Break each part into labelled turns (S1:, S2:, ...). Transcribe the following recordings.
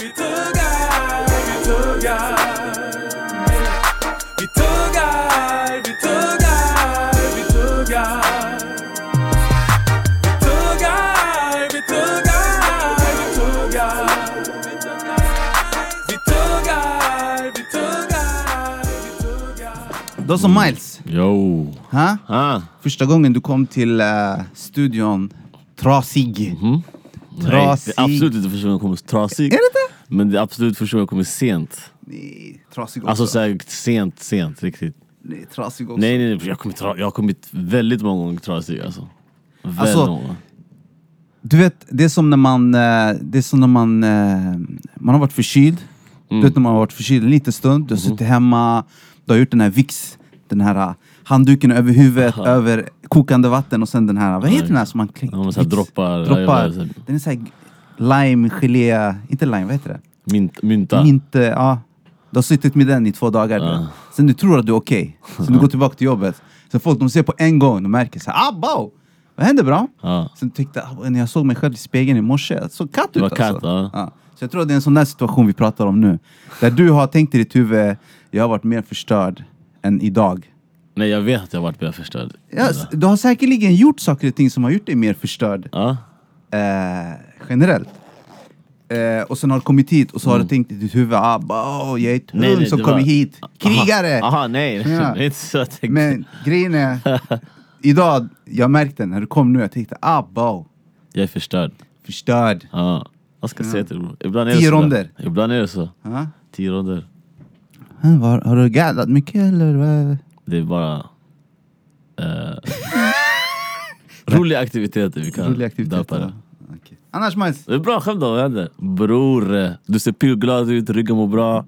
S1: vi tuggar, vi tuggar. Vi tuggar, vi tuggar, vi tuggar. Vi tuggar, vi tuggar, vi tuggar. Vi tuggar, vi tuggar, vi tuggar.
S2: Då som Miles,
S3: Jo.
S2: ha?
S3: Ah.
S2: första gången du kom till eh, studion, trasig.
S3: Mhm. Nej,
S2: Trasig.
S3: det är absolut inte första gången jag kommer trasig.
S2: Är det
S3: Men det är absolut första gången jag kommer sent.
S2: Nej, trasig också.
S3: Alltså såhär sent, sent, riktigt.
S2: nej, trasig också.
S3: Nej nej, nej jag, har kommit tra- jag har kommit väldigt många gånger trasig alltså. Väldigt
S2: Alltså-
S3: många.
S2: Du vet, det är som när man, eh, det är som när man, eh, man har varit förkyld.
S3: Mm.
S2: Du vet när man har varit förkyld en liten stund, du
S3: Mhm.
S2: har suttit hemma, du har gjort den här Vicks, den här eh, handduken över huvudet, över kokande vatten och sen den här, vad heter den här som man
S3: Ja,
S2: klickar?
S3: men så här droppar, ja, jag
S2: droppar.
S3: vet.
S2: Den är såhär lime, gelé, inte lime, vad heter det?
S3: Mynt, mynta.
S2: Inte, ja. Du har suttit med den i två dagar.
S3: Ja.
S2: Sen du tror att du är okej. Sen du går tillbaka till jobbet. Sen folk de ser på en gång, de märker så här, abba! Vad hände bra?
S3: Ja.
S2: Sen tyckte jag, när jag såg mig själv i spegeln i morse, jag såg katt ut
S3: var
S2: alltså.
S3: katt, ja.
S2: Så jag tror att det är en sån där situation vi pratar om nu. Där du har tänkt i ditt huvud, jag har varit mer förstörd än idag.
S3: Nej jag vet att jag har varit mer förstörd.
S2: Ja, s- du har säkerligen gjort saker och ting som har gjort dig mer förstörd
S3: Ja.
S2: eh, generellt. Eh, och sen har du kommit hit och så har du tänkt i ditt huvud, ah, ba, åh, jag är ett
S3: Mm. Nej,
S2: hund
S3: nej,
S2: Mm, som
S3: det
S2: kommer
S3: var-
S2: hit, krigare!
S3: Aha, aha nej,
S2: Ja.
S3: det är inte så jag tänkte.
S2: Men grejen är, idag, jag märkte när du kom nu, jag tänkte, ah, ba,
S3: Jag är förstörd.
S2: förstörd.
S3: Ja. Vad ska jag säga till dig? Ibland är
S2: Tio
S3: det så.
S2: ronder.
S3: Ibland är det så.
S2: Ja.
S3: Tio ronder. Hm,
S2: Hä, Var, har du gaddat mycket eller? vad?
S3: Det är bara... eh, roliga aktiviteter vi kan
S2: Roliga aktiviteter.
S3: döpa
S2: va?
S3: det.
S2: Okej. Annars Miles,
S3: Det är bra skämt då, vad händer? Bror, eh, du ser pigglad ut, ryggen mår bra,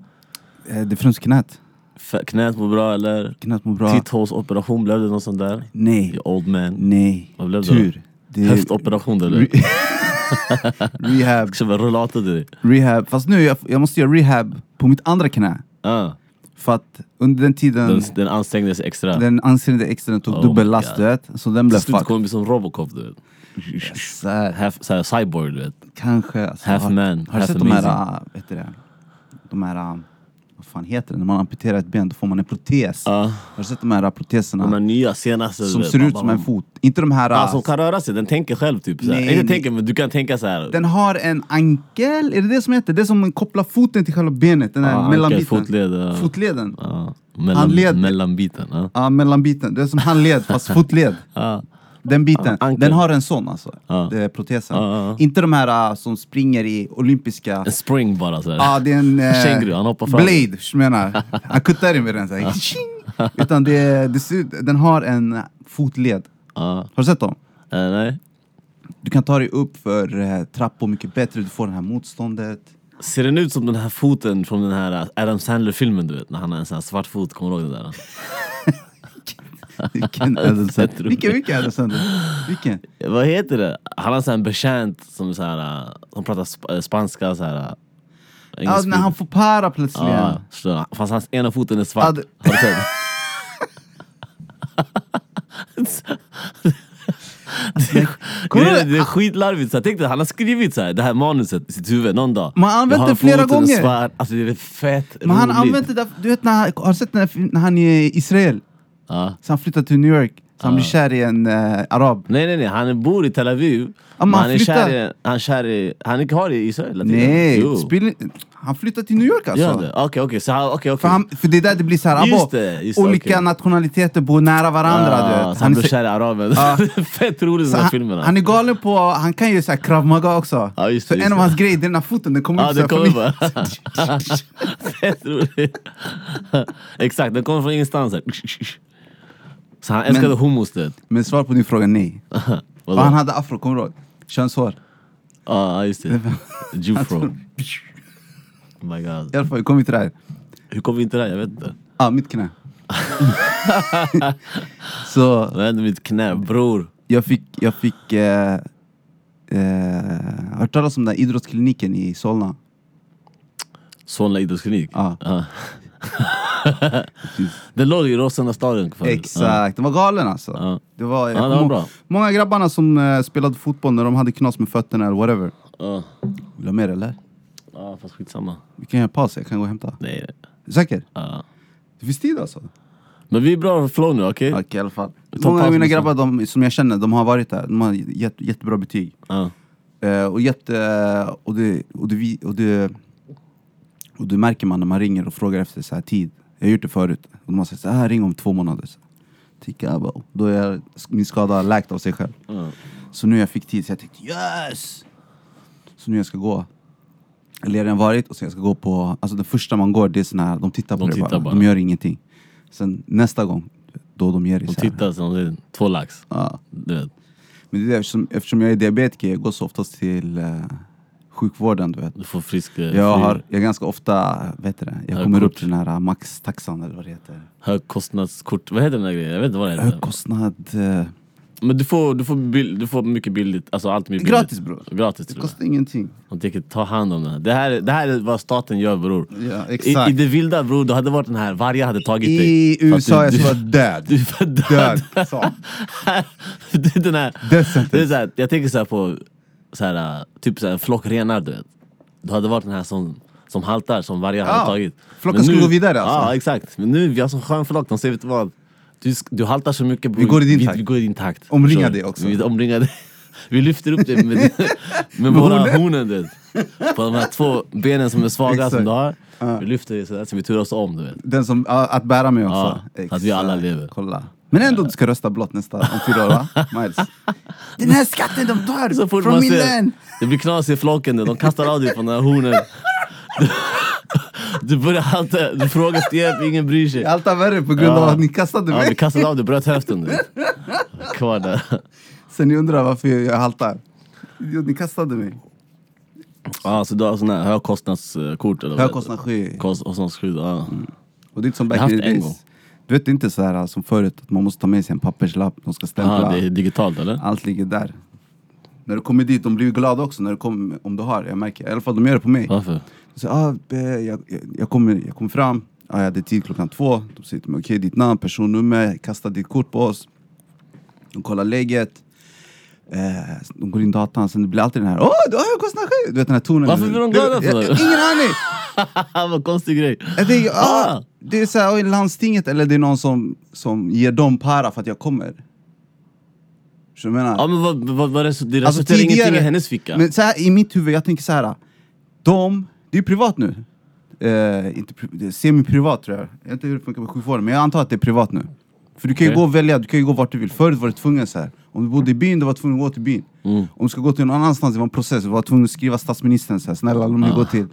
S2: eh, det fröns knät.
S3: f- knät mår bra eller?
S2: Knät mår bra.
S3: Titthålsoperation, blev det någon sån där?
S2: Nej,
S3: You old man.
S2: nej,
S3: Vad blev det då?
S2: tur. Det är
S3: Höftoperation eller?
S2: rehab,
S3: Ska jag rullator till dig?
S2: rehab. Fast nu, jag, jag måste göra rehab på mitt andra knä.
S3: Ah,
S2: För att under den tiden,
S3: den,
S2: den,
S3: den ansträngde sig extra.
S2: ansträngde extern tog
S3: Oh
S2: dubbel
S3: my
S2: last,
S3: God.
S2: du vet. Så den blev
S3: Till slut
S2: fucked.
S3: kommer det bli som Robocop du vet.
S2: Så här,
S3: Half, så här, cyborg du vet.
S2: kanske. Alltså,
S3: Half
S2: har,
S3: man,
S2: Har du
S3: half
S2: sett de här,
S3: amazing.
S2: ah, vet du det? De här, ah, vad fan heter det? När man amputerar ett ben, då får man en protes.
S3: Ah,
S2: Har du sett de här ah, proteserna?
S3: de här nya senaste du
S2: Som
S3: vet,
S2: ser
S3: man
S2: ut
S3: bara-
S2: som en fot. Inte de här...
S3: Ja,
S2: ah,
S3: som kan röra sig, den tänker själv typ
S2: Nej,
S3: såhär. Inte
S2: nej.
S3: tänker men du kan tänka såhär.
S2: Den har en ankel, är det det som heter? Det som kopplar foten till själva benet, den här
S3: Ja, ankel,
S2: mellanbiten.
S3: fotled, ja.
S2: Fotleden. Ja,
S3: Ja, mellan,
S2: Handled.
S3: Mellanbiten. Ja.
S2: mellanbiten. Det är som handled fast fotled.
S3: Ja.
S2: Den biten.
S3: Ja, ankel.
S2: den har en sån alltså,
S3: Ja.
S2: det är protesen.
S3: Ja, ja, ja.
S2: Inte de här ah, som springer i olympiska...
S3: En spring bara såhär.
S2: Ja, det är en... eh,
S3: Känguru, han hoppar fram.
S2: Blade, som jag menar. Han kuttar in med den såhär. tjing. Utan det, det ser ut, den har en fotled.
S3: Ja.
S2: Har du sett dem?
S3: Eh, nej.
S2: Du kan ta dig upp för eh, trappor mycket bättre, du får det här motståndet.
S3: Ser den ut som den här foten från den här eh, Adam Sandler-filmen du vet? När han har en sån här svart fot, kommer du ihåg den där?
S2: Vilken Adam
S3: Sätter du
S2: Sandler? Vilken,
S3: mig?
S2: vilken Adam Sandler? Vilken?
S3: Eh, Vad heter det? Han har en sån här betjänt som, så här, eh, som pratar sp- eh, spanska så här. eh,
S2: Ja,
S3: engelsk
S2: när
S3: fil-
S2: han får para plötsligen.
S3: Ja, så, fast hans ena foten är svart.
S2: Ja,
S3: Har du sett? Det är-
S2: Kolla
S3: det, är-
S2: det.
S3: det är skitlarvigt, så här, tänk dig, han har skrivit så här, det här manuset i sitt huvud någon dag.
S2: Men han har använt
S3: Jag har
S2: det flera
S3: foten
S2: gånger.
S3: Svart. Alltså det är fett
S2: Men han
S3: roligt.
S2: använder det, du vet när, han- har du sett när, när han är i Israel?
S3: Ja.
S2: Så han flyttar till New York, så han blir kär i en eh, arab.
S3: Nej nej nej, han bor i Tel Aviv.
S2: men
S3: men
S2: han
S3: han, är kär
S2: flyttar.
S3: i, han, är kär i, han är kvar i Israel hela tiden.
S2: Nej,
S3: Jo.
S2: spill, in- han flyttar till New York
S3: Gör
S2: alltså.
S3: det? Okej okej, så han- okej
S2: För,
S3: okej.
S2: han, för det är där det blir så här,
S3: Just
S2: abo,
S3: det, just det,
S2: olika
S3: okej.
S2: nationaliteter bor nära varandra.
S3: Ah,
S2: du vet.
S3: så han blir
S2: så-
S3: kär i araben.
S2: Ja.
S3: Fett roligt i
S2: så
S3: de här alltså.
S2: han,
S3: filmerna.
S2: han är galen på, han kan ju så här krav maga också.
S3: Ja, just det,
S2: så
S3: just
S2: en av
S3: det.
S2: hans grejer, det är den här foten, den kommer
S3: Ja,
S2: upp
S3: den
S2: så här
S3: kommer
S2: förbi.
S3: bara. Fett roligt. Exakt, den kommer från ingenstans. här. Så han älskade
S2: Men-
S3: hummus det.
S2: Men svar på din fråga, nej.
S3: Vadå?
S2: Och han hade afro, kommer du ihåg? Könshår.
S3: Ja, just det. Jufro. Oh
S2: tror-
S3: my
S2: I
S3: god.
S2: alla fall, vi kom vi till det här.
S3: Hur kom vi inte där? Jag vet inte.
S2: Ja, ah, mitt knä. så
S3: Vad hände med mitt knä? Bror.
S2: jag fick, jag fick eh, eh, hört talas om den här idrottskliniken i Solna.
S3: Solna idrottsklinik.
S2: Ja.
S3: Ja. det låg i Råsunda stadion. förut. Ja.
S2: Exakt, den var galen alltså.
S3: Ja.
S2: Det var, jag
S3: Ja, det var
S2: kommer
S3: bra.
S2: ihåg- Många av grabbarna som eh, spelade fotboll när de hade knas med fötterna eller whatever.
S3: Ja.
S2: Vill du ha mer eller?
S3: Ja, fast skitsamma.
S2: Vi kan göra en paus, jag kan gå och hämta.
S3: Nej,
S2: Säker?
S3: ja.
S2: Det finns tid alltså?
S3: Men vi är bra flow nu, okej?
S2: Okej, i alla fall.
S3: tar
S2: Många av
S3: paus
S2: mina
S3: nu.
S2: grabbar de, som jag känner, de har varit där. De har gett jättebra betyg.
S3: Ja.
S2: Eh, och, jätte, och, det, och, det, vi- och, det, och det märker man när man ringer och frågar efter så här tid. Jag har gjort det förut. Och de har sagt så här, "Ah, ring om två månader. Så, Ticka, abo. Då är jag, min skada läkt av sig själv.
S3: Ja.
S2: Så nu jag fick tid så jag tänkte yes! Så nu jag ska gå. Eller jag har redan varit och sen jag ska gå på, alltså den första man går det är sån här, de tittar på
S3: De
S2: det
S3: tittar
S2: bara.
S3: bara.
S2: De gör ingenting. Sen nästa gång, då de ger det
S3: De
S2: så här.
S3: tittar som det är två lax.
S2: Ja.
S3: Du vet.
S2: Men det är eftersom, eftersom jag är diabetiker, jag går så oftast till eh, sjukvården du vet.
S3: Du får frisk... eh,
S2: Jag
S3: fri-
S2: har, jag är ganska ofta, vet du det, jag
S3: Ja,
S2: kommer
S3: kort.
S2: upp till den här eh, maxtaxan eller vad det heter.
S3: Högkostnadskort. Vad heter den där grejen? Jag vet inte vad det heter.
S2: Högkostnad, eh,
S3: Men du får, du får, bill, du får mycket billigt. Alltså allt mycket billigt.
S2: Gratis, bror.
S3: Gratis
S2: det
S3: till och med.
S2: kostar ingenting.
S3: De tänker ta hand om det här. Det här, det här är vad staten gör bror.
S2: Ja,
S3: I,
S2: exakt.
S3: I det vilda bror, du hade varit den här, vargar hade tagit dig.
S2: I
S3: För att
S2: USA jag
S3: du,
S2: skulle vara
S3: du,
S2: död.
S3: typ. du är för död.
S2: Död, sa
S3: Det är den här,
S2: Death sentence.
S3: det är så här, jag tänker så här på så här, äh, typ så här, en flock renar du vet. Du hade varit den här som, som haltar, som vargar
S2: Ja,
S3: hade tagit.
S2: flocken
S3: Men
S2: skulle gå vidare, alltså.
S3: Ja exakt. Men nu, vi har så skön flock, de säger vet du vad? Du, sk- du haltar så mycket bror.
S2: Vi går i din takt.
S3: Vi, går i din takt.
S2: Omringa
S3: Förstår du?
S2: dig också.
S3: Vi omringar dig. Vi lyfter upp dig med, med, våra hornen du vet. På de här två benen som är svaga som
S2: Exakt.
S3: du har. Vi lyfter dig sådär så vi turas om du vet.
S2: Den som, ja, att bära mig också.
S3: Ja, att vi alla
S2: Exakt.
S3: lever.
S2: Kolla. Men ändå, du ska rösta blått nästa, om fyra år va? Miles. Den här skatten de tar
S3: Så fort man ser, det blir knas i flocken, de kastar av dig från den här hornen. Du börjar halta, du frågar efter hjälp, ingen bryr sig.
S2: Allt är värre på grund av att ni kastade
S3: Ja,
S2: mig.
S3: vi kastade av dig, bröt höften. Du. Kvar där.
S2: Sen ni undrar varför jag haltar. Jo, Ni kastade mig.
S3: Ja, så du har sån här högkostnadskort? eller vad
S2: Högkostnadsskydd. Mm.
S3: heter det? Kostnadsskydd, ja.
S2: Och det är inte som
S3: Jag har
S2: back in
S3: haft
S2: the
S3: en
S2: days.
S3: gång.
S2: Du vet, det är inte så här äh, som förut, att man måste ta med sig en papperslapp, de ska stämpla.
S3: Ah, det är digitalt eller?
S2: Allt ligger där. När du kommer dit, de blir ju glada också när du kommer, om du har, jag märker. I alla fall de gör det på mig.
S3: Varför?
S2: Så, ah, eh, jag, jag, jag, kommer, jag kom fram, ah, jag hade tid klockan två. De säger till mig, okej ditt namn, personnummer, kasta ditt kort på oss. De kollar läget. Eh, de går in i datan, sen det blir alltid den här Åh, du har högkostnadsskydd! Du vet den här tonen.
S3: Varför blir de glada för
S2: Jag-
S3: det?
S2: jag- Ingen aning!
S3: Vad konstig grej.
S2: Jag tänker, ah,
S3: Ah!
S2: det är såhär, oj, landstinget eller det är någon som, som ger dem para för att jag kommer. Så jag menar? Alltså,
S3: Ja, men vad, vad, vad resu- det resulterar ingenting i hennes ficka.
S2: Men så här, i mitt huvud, jag tänker så här. De, det är ju privat nu. Eh, inte, pri- det är semi-privat tror jag. Jag vet inte hur det funkar med sjukvården, men jag antar att det är privat nu. För du kan ju
S3: Okej.
S2: gå och välja, du kan ju gå vart du vill. Förut var du tvungen så här. Om du bodde i byn, du var tvungen att gå till byn.
S3: Mm.
S2: Om du ska gå till någon annanstans, det var en process. Du var tvungen att skriva statsministern så här. Snälla, låt
S3: Ah.
S2: mig gå till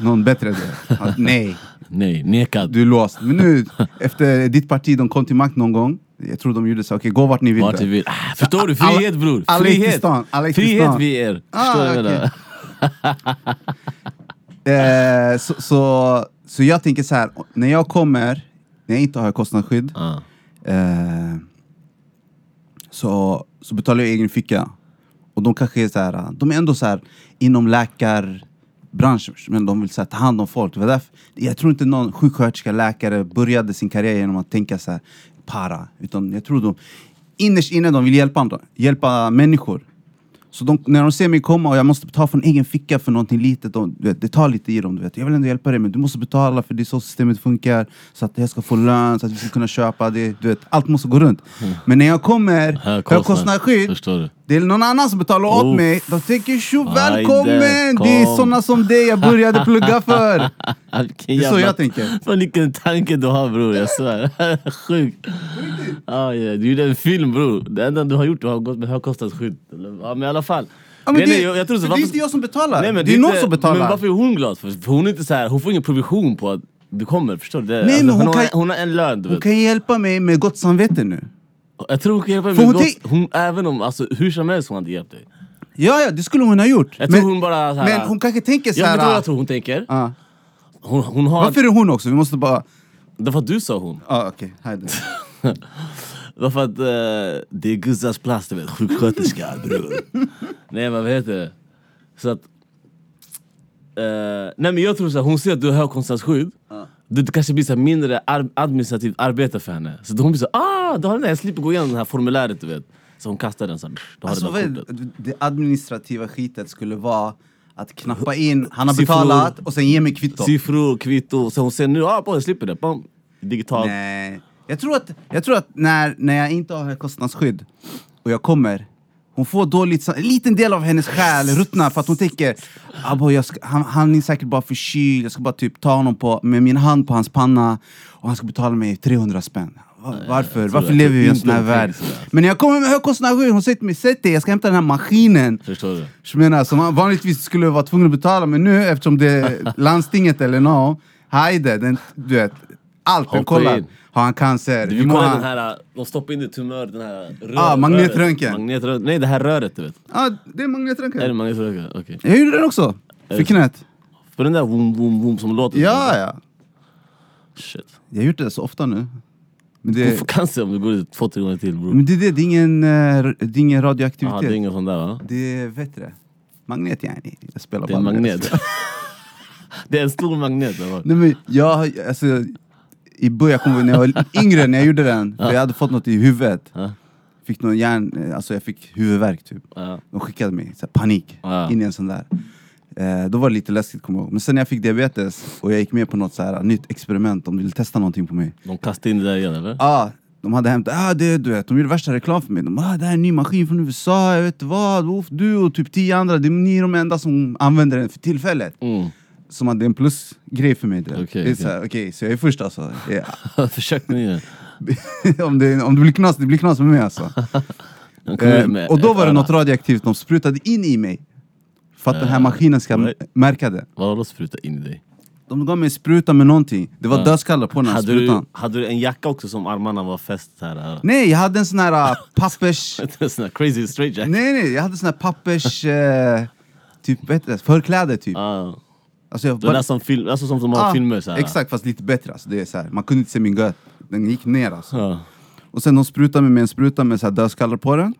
S2: någon bättre. där." Han, Nej,
S3: Nej, nekad.
S2: du är låst. Men nu, efter ditt parti, de kom till makt någon gång. Jag tror de gjorde så här, okej gå vart ni vill.
S3: Vart
S2: där."
S3: du vill. Ah, förstår du?
S2: Alla-
S3: Frihet bror!
S2: alla gick till
S3: Frihet!
S2: stan, alla gick till
S3: Frihet
S2: stan.
S3: vi er!
S2: Ah,
S3: Förstår du vad jag
S2: okej.
S3: menar?
S2: Eh, så, så, så jag tänker så här, när jag kommer, när jag inte har kostnadsskydd,
S3: Ja.
S2: eh, så, så betalar jag egen ficka. Och de kanske är så här, de är ändå så här inom läkarbranschen, men de vill så här, ta hand om folk. Det var därför, jag tror inte någon sjuksköterska, läkare började sin karriär genom att tänka så här, para. Utan jag tror de, innerst inne de vill hjälpa andra, hjälpa människor. Så de, när de ser mig komma och jag måste betala från egen ficka för någonting litet, de, du vet, det tar lite i dem. Du vet. Jag vill ändå hjälpa dig, men du måste betala för det är så systemet funkar. Så att jag ska få lön, så att vi ska kunna köpa det. Du vet, allt måste gå runt.
S3: Mm.
S2: Men när jag kommer,
S3: Högkostnad.
S2: högkostnadsskydd,
S3: Förstår du?
S2: det är någon annan som betalar åt
S3: Oof.
S2: mig. De tänker tjo,
S3: Aj,
S2: välkommen!
S3: där
S2: Det är
S3: kom.
S2: såna som dig jag började plugga för.
S3: Ah, vilken
S2: Det är så
S3: jävla-
S2: jag tänker.
S3: Fan vilken tanke du har bror, jag svär. Sjukt. Ah, ja. Du gjorde en film bror. Det enda du har gjort du har gått med högkostnadsskydd. Ja, men i alla fall.
S2: Ja, men
S3: Grejen
S2: det,
S3: är, jag, jag tror så,
S2: för det är
S3: varför-
S2: inte jag som betalar.
S3: Nej, men
S2: det är någon
S3: inte-
S2: som betalar.
S3: Men varför är hon glad? För, för hon, är inte så här, hon får ingen provision på att du kommer. Förstår du? Det, alltså,
S2: Nej, men hon
S3: hon, har,
S2: kan-
S3: hon har en lön du
S2: Hon
S3: vet.
S2: kan ju hjälpa mig med gott samvete nu.
S3: Jag tror hon kan hjälpa dig
S2: För
S3: med
S2: hon
S3: gott.
S2: tänk-
S3: Hon, även om, alltså, hur som helst hon hade hjälpt dig.
S2: Ja, ja, det skulle hon ha gjort.
S3: Jag tror hon bara så här-
S2: men hon kanske tänker så
S3: Jag
S2: här...
S3: vet vad jag tror hon tänker.
S2: Ja.
S3: Hon, hon har...
S2: Varför är hon också? Vi måste bara...
S3: Därför att du sa hon.
S2: Ja, okej. Här är det.
S3: Därför att eh, det är guzzars plats, du vet. Sjuksköterska, bror. nej men vad heter det? Så att... eh, nej men jag tror såhär, hon ser att du har högkostnadsskydd. Det, det kanske blir så här mindre ar- administrativt arbete för henne. Så då hon blir så ah, då har den här, jag slipper gå igenom det här formuläret du vet. Så hon kastar den såhär, du har
S2: Alltså,
S3: det där
S2: vad,
S3: kortet.
S2: det administrativa skitet skulle vara Att knappa in, han har
S3: Siffror.
S2: betalat och sen ge mig kvitto.
S3: Siffror, kvitto. Så hon ser nu, ah, på, jag slipper det. Bam. Digitalt.
S2: Nej. Jag tror att, jag tror att när, när jag inte har högkostnadsskydd och jag kommer, hon får dåligt sam- En liten del av hennes själ ruttnar för att hon tänker "Abo, jag ska, han, han är säkert bara förkyld, jag ska bara typ ta honom på, med min hand på hans panna och han ska betala mig 300 spänn. Va- Varför? Varför
S3: att
S2: lever vi i en
S3: inte
S2: sån här
S3: omkring
S2: värld?
S3: sådär.
S2: Men när jag kommer med högkostnadsskydd, hon säger till mig sätt dig, jag ska hämta den här maskinen.
S3: Förstår du?
S2: Så jag menar, som man vanligtvis skulle vara tvungen att betala, men nu eftersom det är landstinget eller nå, Heide, den, du vet, allt. Den
S3: Hoppa
S2: kollar.
S3: in.
S2: Har han cancer?
S3: Vi
S2: Hur mår
S3: kollar
S2: han?
S3: den här, de stoppar in ditt tumör, den här röret.
S2: Ah, magnetröntgen.
S3: Magnetröntgen. Nej, det här röret du vet.
S2: Ja, det är
S3: Är det
S2: magnetröntgen.
S3: magnetröntgen? Okej.
S2: Jag gjorde den också. För knät.
S3: För den där vum vum vum som låter.
S2: Ja, ja.
S3: Shit.
S2: Jag har gjort det så ofta nu. Men
S3: Du
S2: det,
S3: får cancer om du går ut två, tre gånger till bror.
S2: men det, är det, det, är, ingen, eh, det är ingen
S3: Jaha, det är
S2: radioaktivitet.
S3: ingen sån där va?
S2: Det är, vet du det? Magnet yani. Jag spelar
S3: Det är en
S2: bara med
S3: magnet. det är en stor magnet. det var.
S2: Nej men jag, har- alltså, i början, jag kommer ihåg när jag var yngre när jag gjorde den, för jag hade fått något i huvudet.
S3: Ja.
S2: Fick någon hjärn, alltså jag fick huvudvärk typ.
S3: Ja.
S2: De skickade mig, så här, panik,
S3: Ja.
S2: in i en sån där. Eh, då var det lite läskigt kommer jag ihåg. Men sen när jag fick diabetes och jag gick med på något så här, nytt experiment, om de ville testa någonting på mig.
S3: De kastade in det där igen eller?
S2: Ah, de hade hämtat, ah, det, du vet, de gjorde värsta reklam för mig. De ah, det här är en ny maskin från USA, jag vet inte vad. Uff, du och typ tio andra, det är ni är de enda som använder den för tillfället
S3: Mm.
S2: som att det är en plusgrej för mig. Okay,
S3: Okej,
S2: det är
S3: okej.
S2: så, här, okej, så jag är först alltså. Ja.
S3: Försök ni igen.
S2: om, det, om det blir knas, det blir knas med mig alltså.
S3: De kom ut
S2: eh,
S3: med
S2: och då
S3: ett
S2: var det
S3: öra.
S2: något radioaktivt de sprutade in i mig. För att den här
S3: Eh,
S2: maskinen ska
S3: nej.
S2: märka det.
S3: Vad har de sprutat in i dig?
S2: De gav mig en spruta med någonting. Det var
S3: Ja.
S2: dödskallar på den här
S3: Eh, Hade du,
S2: sprutan.
S3: hade du en jacka också som armarna var fäst så här?
S2: Nej, jag hade en sån här äh, pappers...
S3: här? Sån här crazy straight jacket.
S2: nej, nej, jag hade sån här pappers... Eh, typ, vad heter det? Förkläde typ.
S3: Ah.
S2: Alltså, jag
S3: Den där som, film, alltså som de har
S2: Ah,
S3: filmer så här.
S2: Exakt, fast lite bättre. Alltså. Det är så här, man kunde inte se min gött. Den gick ner alltså.
S3: Ja.
S2: Och sen de sprutade mig med en spruta med så här dödskallar på den.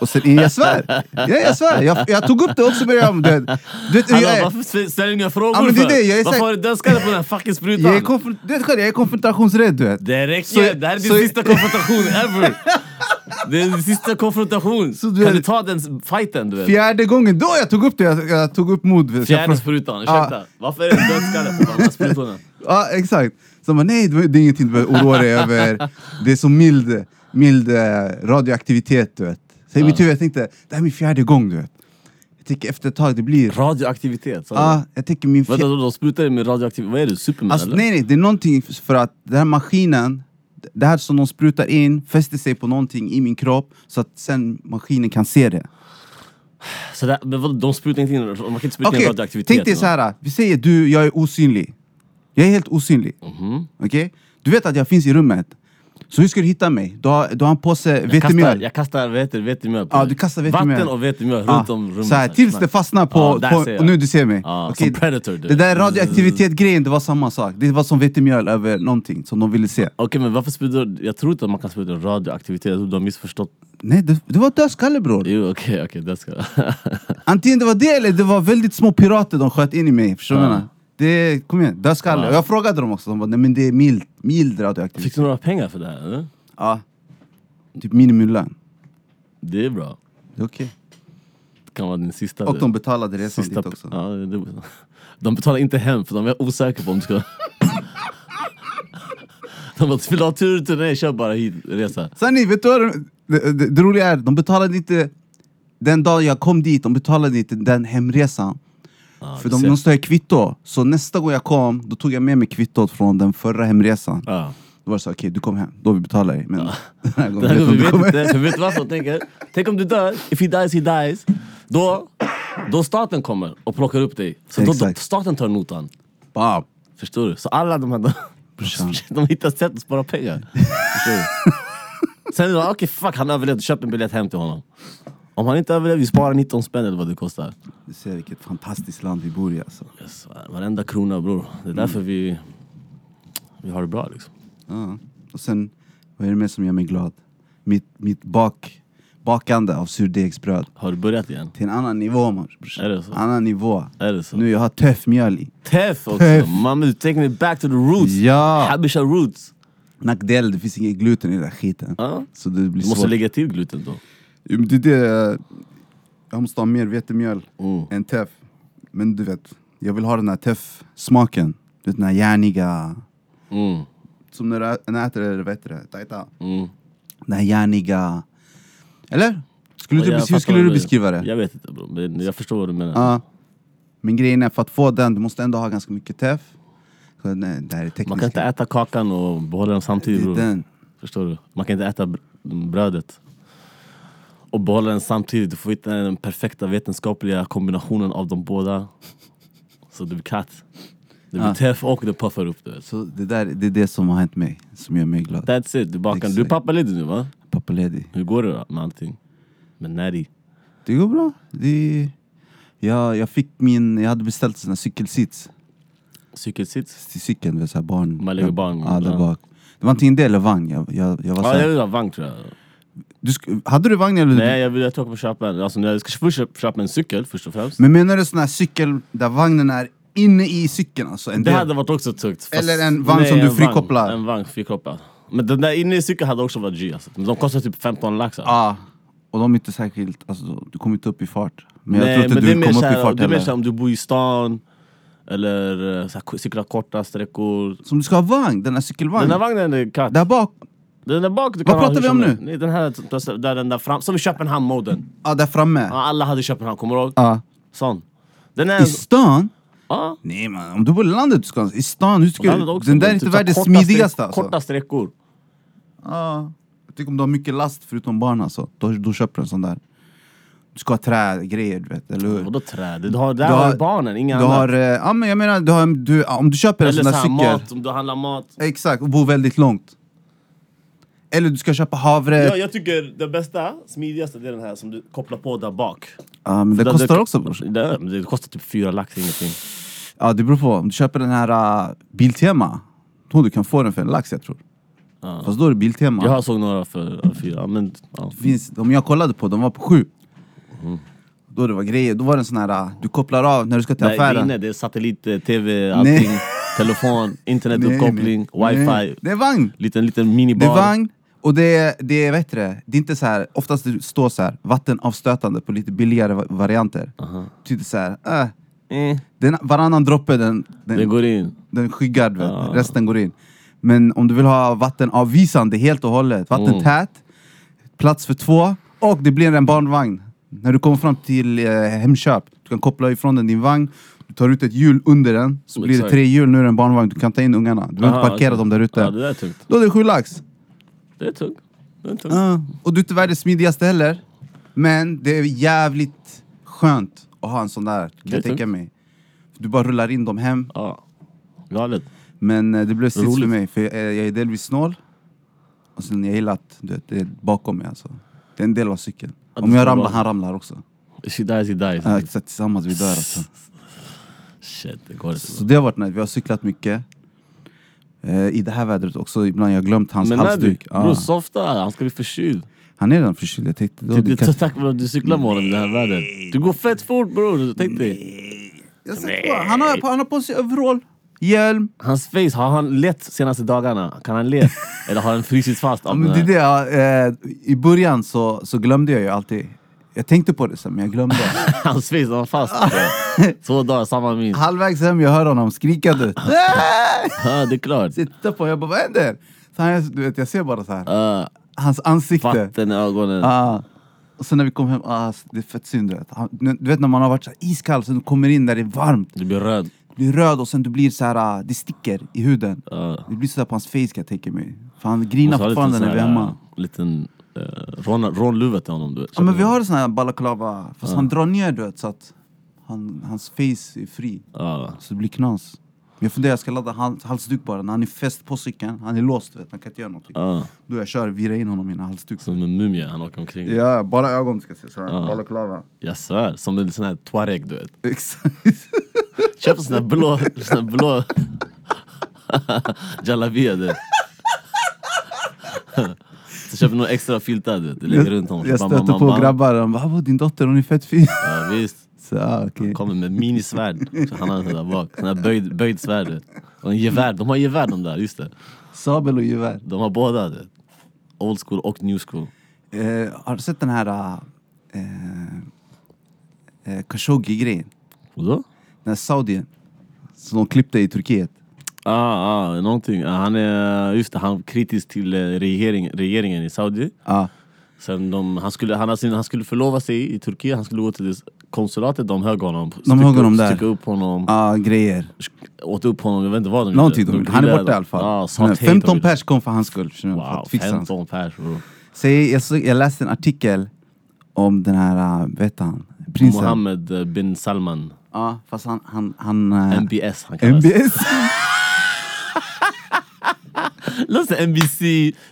S2: Och sen, jag svär! Ja, jag svär! Jag, jag tog upp det också och började om det. Du vet,
S3: Hallå,
S2: jag,
S3: varför ställer- ställer ni inga frågor
S2: Ja, men det är
S3: för?
S2: det, jag är
S3: varför
S2: säker-
S3: har du dödskalle på den här fucking sprutan?
S2: jag, är konfron- du vet själv, jag är konfrontationsrädd du vet.
S3: Det räcker!
S2: Så-
S3: det här är din
S2: så-
S3: sista konfrontation ever! Det är din sista konfrontation!
S2: Så du
S3: kan
S2: är-
S3: du ta den fighten du vet?
S2: Fjärde gången då jag tog upp det, jag, jag tog upp mod. vet du. Jag
S3: Fjärde
S2: frå-
S3: sprutan,
S2: Ah.
S3: ursäkta! Varför är det en dödskalle på de här sprutorna?
S2: Ja, exakt. Så man, nej, det var- det är ingenting du behöver oroa dig över. Det är så mild, mild eh, radioaktivitet du vet. Så i mitt huvud jag tänkte, det här är min fjärde gång du vet. Jag tänker efter ett tag, det blir...
S3: Radioaktivitet, sa du?
S2: Ja, jag tänker min fjärde...
S3: Vänta, de, de sprutar dig med radioaktivitet, vad är du? Superman
S2: Ah, Alltså,
S3: eller?
S2: nej, nej, det är någonting för att den här maskinen, det här som de sprutar in, fäster sig på någonting i min kropp så att sen maskinen kan se det.
S3: Så där, men vadå, de sprutar inte in, man kan inte spruta in
S2: Okej,
S3: radioaktivitet
S2: tänk dig så här. vi säger du, jag är osynlig. Jag är helt osynlig.
S3: Mhm.
S2: Okej? Du vet att jag finns i rummet. Så hur ska du hitta mig? Du har, du har en påse
S3: jag kastar,
S2: vetemjöl.
S3: jag kastar vete- vetemjöl på
S2: Ja,
S3: dig.
S2: du kastar vetemjöl.
S3: Vatten och vetemjöl
S2: Ja,
S3: runt om rummet
S2: Så här, tills det fastnar på...
S3: Ja, där ser
S2: på
S3: jag.
S2: och nu du ser mig.
S3: Ja,
S2: Okej,
S3: som Predator, du
S2: det
S3: vet.
S2: där radioaktivitet-grejen, det var samma sak. Det var som vetemjöl över någonting som de ville se.
S3: Okej men varför sprutar Jag tror inte att man kan spruta radioaktivitet, jag tror du har missförstått.
S2: Nej, det, det var dödskalle bror.
S3: Jo okej, okej det ska
S2: Antingen det var det eller det var väldigt små pirater de sköt in i mig, förstår du vad jag
S3: Ja.
S2: menar? Det, kom igen, dödskalle.
S3: Ja.
S2: Och Jag frågade dem också, de bara nej men det är mild, mild radioaktivitet.
S3: Fick du några pengar för det här eller?
S2: Ja. Typ minimilön.
S3: Det är bra.
S2: Det är okej.
S3: Det kan vara din sista.
S2: Och de betalade resan
S3: sista
S2: dit också.
S3: ja, det, De betalar inte hem för de är osäkra på om du ska... de bara, vill du ha tur till dig? Kör bara hit, resa.
S2: Sanni, vet du vad det, det, det, det roliga är? De betalade inte den dagen jag kom dit, de betalade inte den hemresan.
S3: Ja,
S2: För
S3: du
S2: de
S3: ser.
S2: måste ha kvitto. Så nästa gång jag kom, då tog jag med mig kvittot från den förra hemresan.
S3: Ja.
S2: Då var det så, okej du kom hem, då vi betalar dig. Men den här gången
S3: Det här
S2: vet jag
S3: går,
S2: om
S3: vi
S2: du kommer
S3: vet inte, för vet du vad som tänker? Tänk om du dör, if he dies he dies. Då, då staten kommer och plockar upp dig. Så då, då
S2: Exakt.
S3: staten tar notan.
S2: Bam.
S3: Förstår du? Så alla de här... De,
S2: Brorsan.
S3: de hittar sätt att spara pengar. Förstår du? Sen är det bara, okej fuck han överlevde, köp en biljett hem till honom. Om han inte överlever, vi sparar 19 spänn eller vad det kostar.
S2: Du ser vilket fantastiskt land vi bor i alltså.
S3: Yes, varenda krona bror. Det är
S2: Mm.
S3: därför vi, vi har det bra liksom.
S2: Ja. Och sen, vad är det mer som gör mig glad? Mitt, mitt bak, bakande av surdegsbröd.
S3: Har du börjat igen?
S2: Till en annan nivå man, brorsan.
S3: Är det så?
S2: Annan nivå.
S3: Är det så?
S2: Ah. Nu jag har töff mjöl i.
S3: Teff också!
S2: Teff.
S3: Mamma du take me back to the roots!
S2: Ja.
S3: Habisha roots!
S2: Nackdel, det finns ingen gluten i den där skiten.
S3: Ja.
S2: Så det blir
S3: Du måste
S2: svårt.
S3: lägga till gluten då. Mm.
S2: Mm. Jo, men det är det, jag måste ha mer vetemjöl än teff. Men du vet, jag vill ha den här teff smaken. Du vet, den här järniga...
S3: Mm.
S2: Som när du ä- när du äter det, vad heter det? Tajta.
S3: Mm.
S2: Den här järniga... Eller? Skulle
S3: Ja,
S2: du,
S3: jag
S2: bes- hur
S3: fattar
S2: skulle
S3: vad
S2: du
S3: menar.
S2: beskriva det? Ah.
S3: Jag vet inte bro, men jag förstår vad du menar.
S2: Ja. Men grejen är, för att få den, du måste ändå ha ganska mycket teff. Så, nej, det här är tekniska.
S3: Man kan inte äta kakan och behålla den samtidigt
S2: Det är
S3: bror.
S2: den.
S3: Förstår du? Man kan inte äta br- brödet och behålla den samtidigt. Du får hitta den perfekta vetenskapliga kombinationen av de båda. Så det blir katt. Det blir
S2: Ja.
S3: teff och det puffar upp det.
S2: Så det, där, det är det som har hänt mig, som gör mig glad.
S3: That's it, du bakar. Du är
S2: Exakt.
S3: pappaledig nu va?
S2: Pappa Lady.
S3: Hur går det då med allting? Med Neri?
S2: Det går bra. Det, jag, jag fick min, jag hade beställt såna cykelsits
S3: Cykelsits?
S2: till cykeln, med så här barn.
S3: Man lägger barn,
S2: Ja, där
S3: ja.
S2: bak. Det var antingen det eller vagn. Jag, jag, jag var så
S3: Ja, jag
S2: här,
S3: vill ha vagn tror jag.
S2: du, sk- hade du vagn eller?
S3: Nej, jag vill jag tror jag kommer köpa en. Alltså, jag ska först köpa- köpa en cykel först och främst.
S2: Men menar du sån här cykel där vagnen är inne i cykeln? Alltså, en
S3: Det
S2: del-
S3: hade varit också tungt. fast-
S2: Eller en vagn som du
S3: en vagn.
S2: frikopplar.
S3: En vagn frikopplad. Men den där inne i cykeln hade också varit G alltså. Men de kostar typ 15 lax. alltså.
S2: Ja, och de är inte särskilt, alltså, du kommer inte upp i fart. Men
S3: Nej,
S2: jag tror
S3: men
S2: inte
S3: det är
S2: du
S3: mer
S2: kommer
S3: så
S2: upp i
S3: här-
S2: fart
S3: Det är mer såhär
S2: heller.
S3: om du bor i stan, eller eh, så här, k- cykla korta sträckor.
S2: Som du ska ha vagn, den här cykelvagnen.
S3: Den där vagnen är katt.
S2: Där bak,
S3: Den där bak du
S2: Vad
S3: kan ha
S2: pratar
S3: hur
S2: vi om
S3: som
S2: nu?
S3: helst. Nej, den här, där, den där fram, som i Köpenhamn-moden.
S2: ja, där framme.
S3: Ja, alla hade Köpenhamn, kommer du ihåg?
S2: Ja.
S3: Sån. Den är...
S2: I stan?
S3: Ja.
S2: Nej man, om du bor i landet du ska ha- i stan, hur ska
S3: Den,
S2: du, den där är inte världens smidigaste alltså.
S3: typ Korta sträckor.
S2: Ja. Jag tycker om du har mycket last förutom barn alltså, då, då köper du en sån där. Du ska ha trägrejer du vet, eller hur?
S3: Vadå träd? Du har, där
S2: Du har-
S3: har barnen, inga
S2: Du
S3: andra.
S2: har, eh, ja men jag menar, du har, du, ja, om du köper en
S3: Eller
S2: sån
S3: så
S2: där
S3: här,
S2: cykel,
S3: mat, om du handlar mat.
S2: exakt, och bor väldigt långt. Eller du ska köpa havre,
S3: Ja,
S2: ja,
S3: jag tycker det bästa, smidigaste, det är den här som du kopplar på där bak.
S2: men det
S3: Där-
S2: kostar
S3: där-
S2: också bror.
S3: Det, det kostar typ fyra lax, ingenting.
S2: Ja det beror på, om du köper den här uh, Biltema, då du kan få den för en lax jag tror.
S3: Ja.
S2: Fast då är det Biltema.
S3: Jag såg några för fyra, men... Ja.
S2: finns, de jag kollade på, de var på sju.
S3: Mhm.
S2: Då det var grejer, då var det en sån här, eh, du kopplar av när du ska till
S3: Nej, det, är
S2: affären.
S3: inne, det är satellit, eh, tv, allting. Telefon, internetuppkoppling,
S2: nej.
S3: wifi.
S2: Det är vagn!
S3: Liten, liten
S2: Det
S3: minibar.
S2: är vagn, och det är, det är, vad heter det? Det är inte så här, oftast det står så här, vattenavstötande på lite billigare va- varianter.
S3: Aha.
S2: Typ så här, äh,
S3: Eh,
S2: den, varannan droppe den, den,
S3: den
S2: den,
S3: går in.
S2: skyggar, du vet.
S3: Ja.
S2: resten går in. Men om du vill ha vattenavvisande helt och hållet, vattentät, plats för två och det blir en barnvagn. När du kommer fram till eh, Hemköp, du kan koppla ifrån den din vagn, du tar ut ett hjul under den, så blir det
S3: Exakt.
S2: tre hjul, nu är det en barnvagn, du kan ta in ungarna. Du behöver
S3: Aha,
S2: inte parkera
S3: okej.
S2: dem där ute.
S3: Ja, det där är tungt.
S2: Då är det sju lax.
S3: Det är tungt. Det är tungt.
S2: Ja, Och du är inte världens smidigaste heller. Men det är jävligt skönt att ha en sån där, kan
S3: är
S2: jag tänka mig. Du bara rullar in dem hem.
S3: Ja. Galet.
S2: Men eh, det blev sits för
S3: Roligt.
S2: mig, för jag, är- jag är delvis snål. Och sen jag gillar att du vet, det är bakom mig alltså. Det är en del av cykeln.
S3: Ja,
S2: Om
S3: det
S2: jag
S3: ska
S2: ramlar,
S3: vara- Mm.
S2: han ramlar också.
S3: She dies, he dies.
S2: Ja, exakt, tillsammans vi dör alltså.
S3: Shit, det går inte.
S2: Så det har varit nice, vi har cyklat mycket. Eh, I det här vädret också, ibland har jag glömt hans
S3: Men när du,
S2: halsduk.
S3: bror
S2: Ja.
S3: softa, han ska bli förkyld.
S2: Han är redan förkyld, jag tänkte... Då,
S3: Typ Det,
S2: det
S3: det,
S2: kanske-
S3: tack vare att du cyklar med honom i det här vädret. Du går fett fort bror, tänk dig.
S2: Jag sätter på. Han, har, han har på sig overall, hjälm.
S3: Hans face, har han lett senaste dagarna? Kan han le? Eller har han frusit fast?
S2: Ja,
S3: Av
S2: men det är
S3: den här?
S2: det, ja, eh, I början så, så glömde jag ju alltid. Jag tänkte på det sen, men jag glömde.
S3: Hans face, han var fast. Två dagar, samma min.
S2: Halvvägs hem, jag hör honom skrikande.
S3: Ja, det är klart.
S2: Så jag tittar på honom, jag bara vad händer? Så han, du vet, jag ser bara så här.
S3: Uh,
S2: hans ansikte.
S3: vatten i ögonen.
S2: Ah. Och sen när vi kom hem, ah, det är fett synd. Du vet, han, du vet när man har varit så här iskall, sen du kommer in där det är varmt.
S3: Du blir röd.
S2: Du blir röd och sen du blir så här, ah, det sticker i huden.
S3: Ja.
S2: Det blir sådär på hans face kan jag tänka mig. För han grinar fortfarande när vi är hemma.
S3: liten uh, rån, rånluva till honom. Du vet.
S2: Ja men vi har sån här balaklava, fast han drar ner du vet så att han, hans face är fri.
S3: Ja.
S2: Så det blir knas. Jag funderar, jag ska ladda hals, halsduk bara. När han är fäst på cykeln, han är låst du vet, han kan inte göra någonting.
S3: Ja.
S2: Då jag kör, virar in honom i en halsduk.
S3: som en mumie, han åker omkring.
S2: Ja, bara ögon ska se såhär,
S3: Ja.
S2: balaklava.
S3: Jag svär, som en sån här tuareg du vet.
S2: Exakt.
S3: Köp en sån här blå, sån här blå jalabia du vet. Så köper några extra filtar du vet, du lägger runt honom.
S2: jag
S3: Bam,
S2: stöter
S3: bam, bam,
S2: på
S3: bam.
S2: grabbar, de bara "Abo, din dotter hon är fett fin.
S3: Ja, visst.
S2: Så, ah, okej.
S3: Kommer med minisvärd. Så han har en sån där bak. Sån här böjd, böjd svärd. du vet. Och en gevär. De har gevär de där, just det.
S2: Sabel och gevär.
S3: De har båda. du vet. Old school och new school.
S2: Eh, har du sett den här eh, eh, Khashoggi-grejen?
S3: Vadå?
S2: Den här saudien som de klippte i Turkiet.
S3: Ah, ah, någonting. Ah, Han är, just det, han är kritisk till eh, regering, regeringen i Saudi.
S2: Ja.
S3: Sen de, han, skulle, han, har sin- han skulle förlova sig i Turkiet, han skulle gå till det konsulatet, de högg honom. Styckade
S2: högg honom
S3: upp,
S2: där.
S3: styckade upp honom,
S2: Ja, grejer.
S3: åt upp honom, jag vet inte vad de
S2: Någonting de, Han är
S3: grillade-
S2: borta i alla fall.
S3: Ah,
S2: Men
S3: sauté
S2: 15
S3: de gjorde.
S2: pers kom för hans skull. förstår du, för
S3: Wow,
S2: att fixa hans-
S3: 15 pers bro.
S2: Så jag, jag, såg- jag läste en artikel om den här, äh, vet han, prinsen.
S3: Mohammed eh, bin Salman,
S2: Ja, fast han... han, han äh,
S3: MBS han kallas.
S2: MBS?
S3: Låt säga NBC,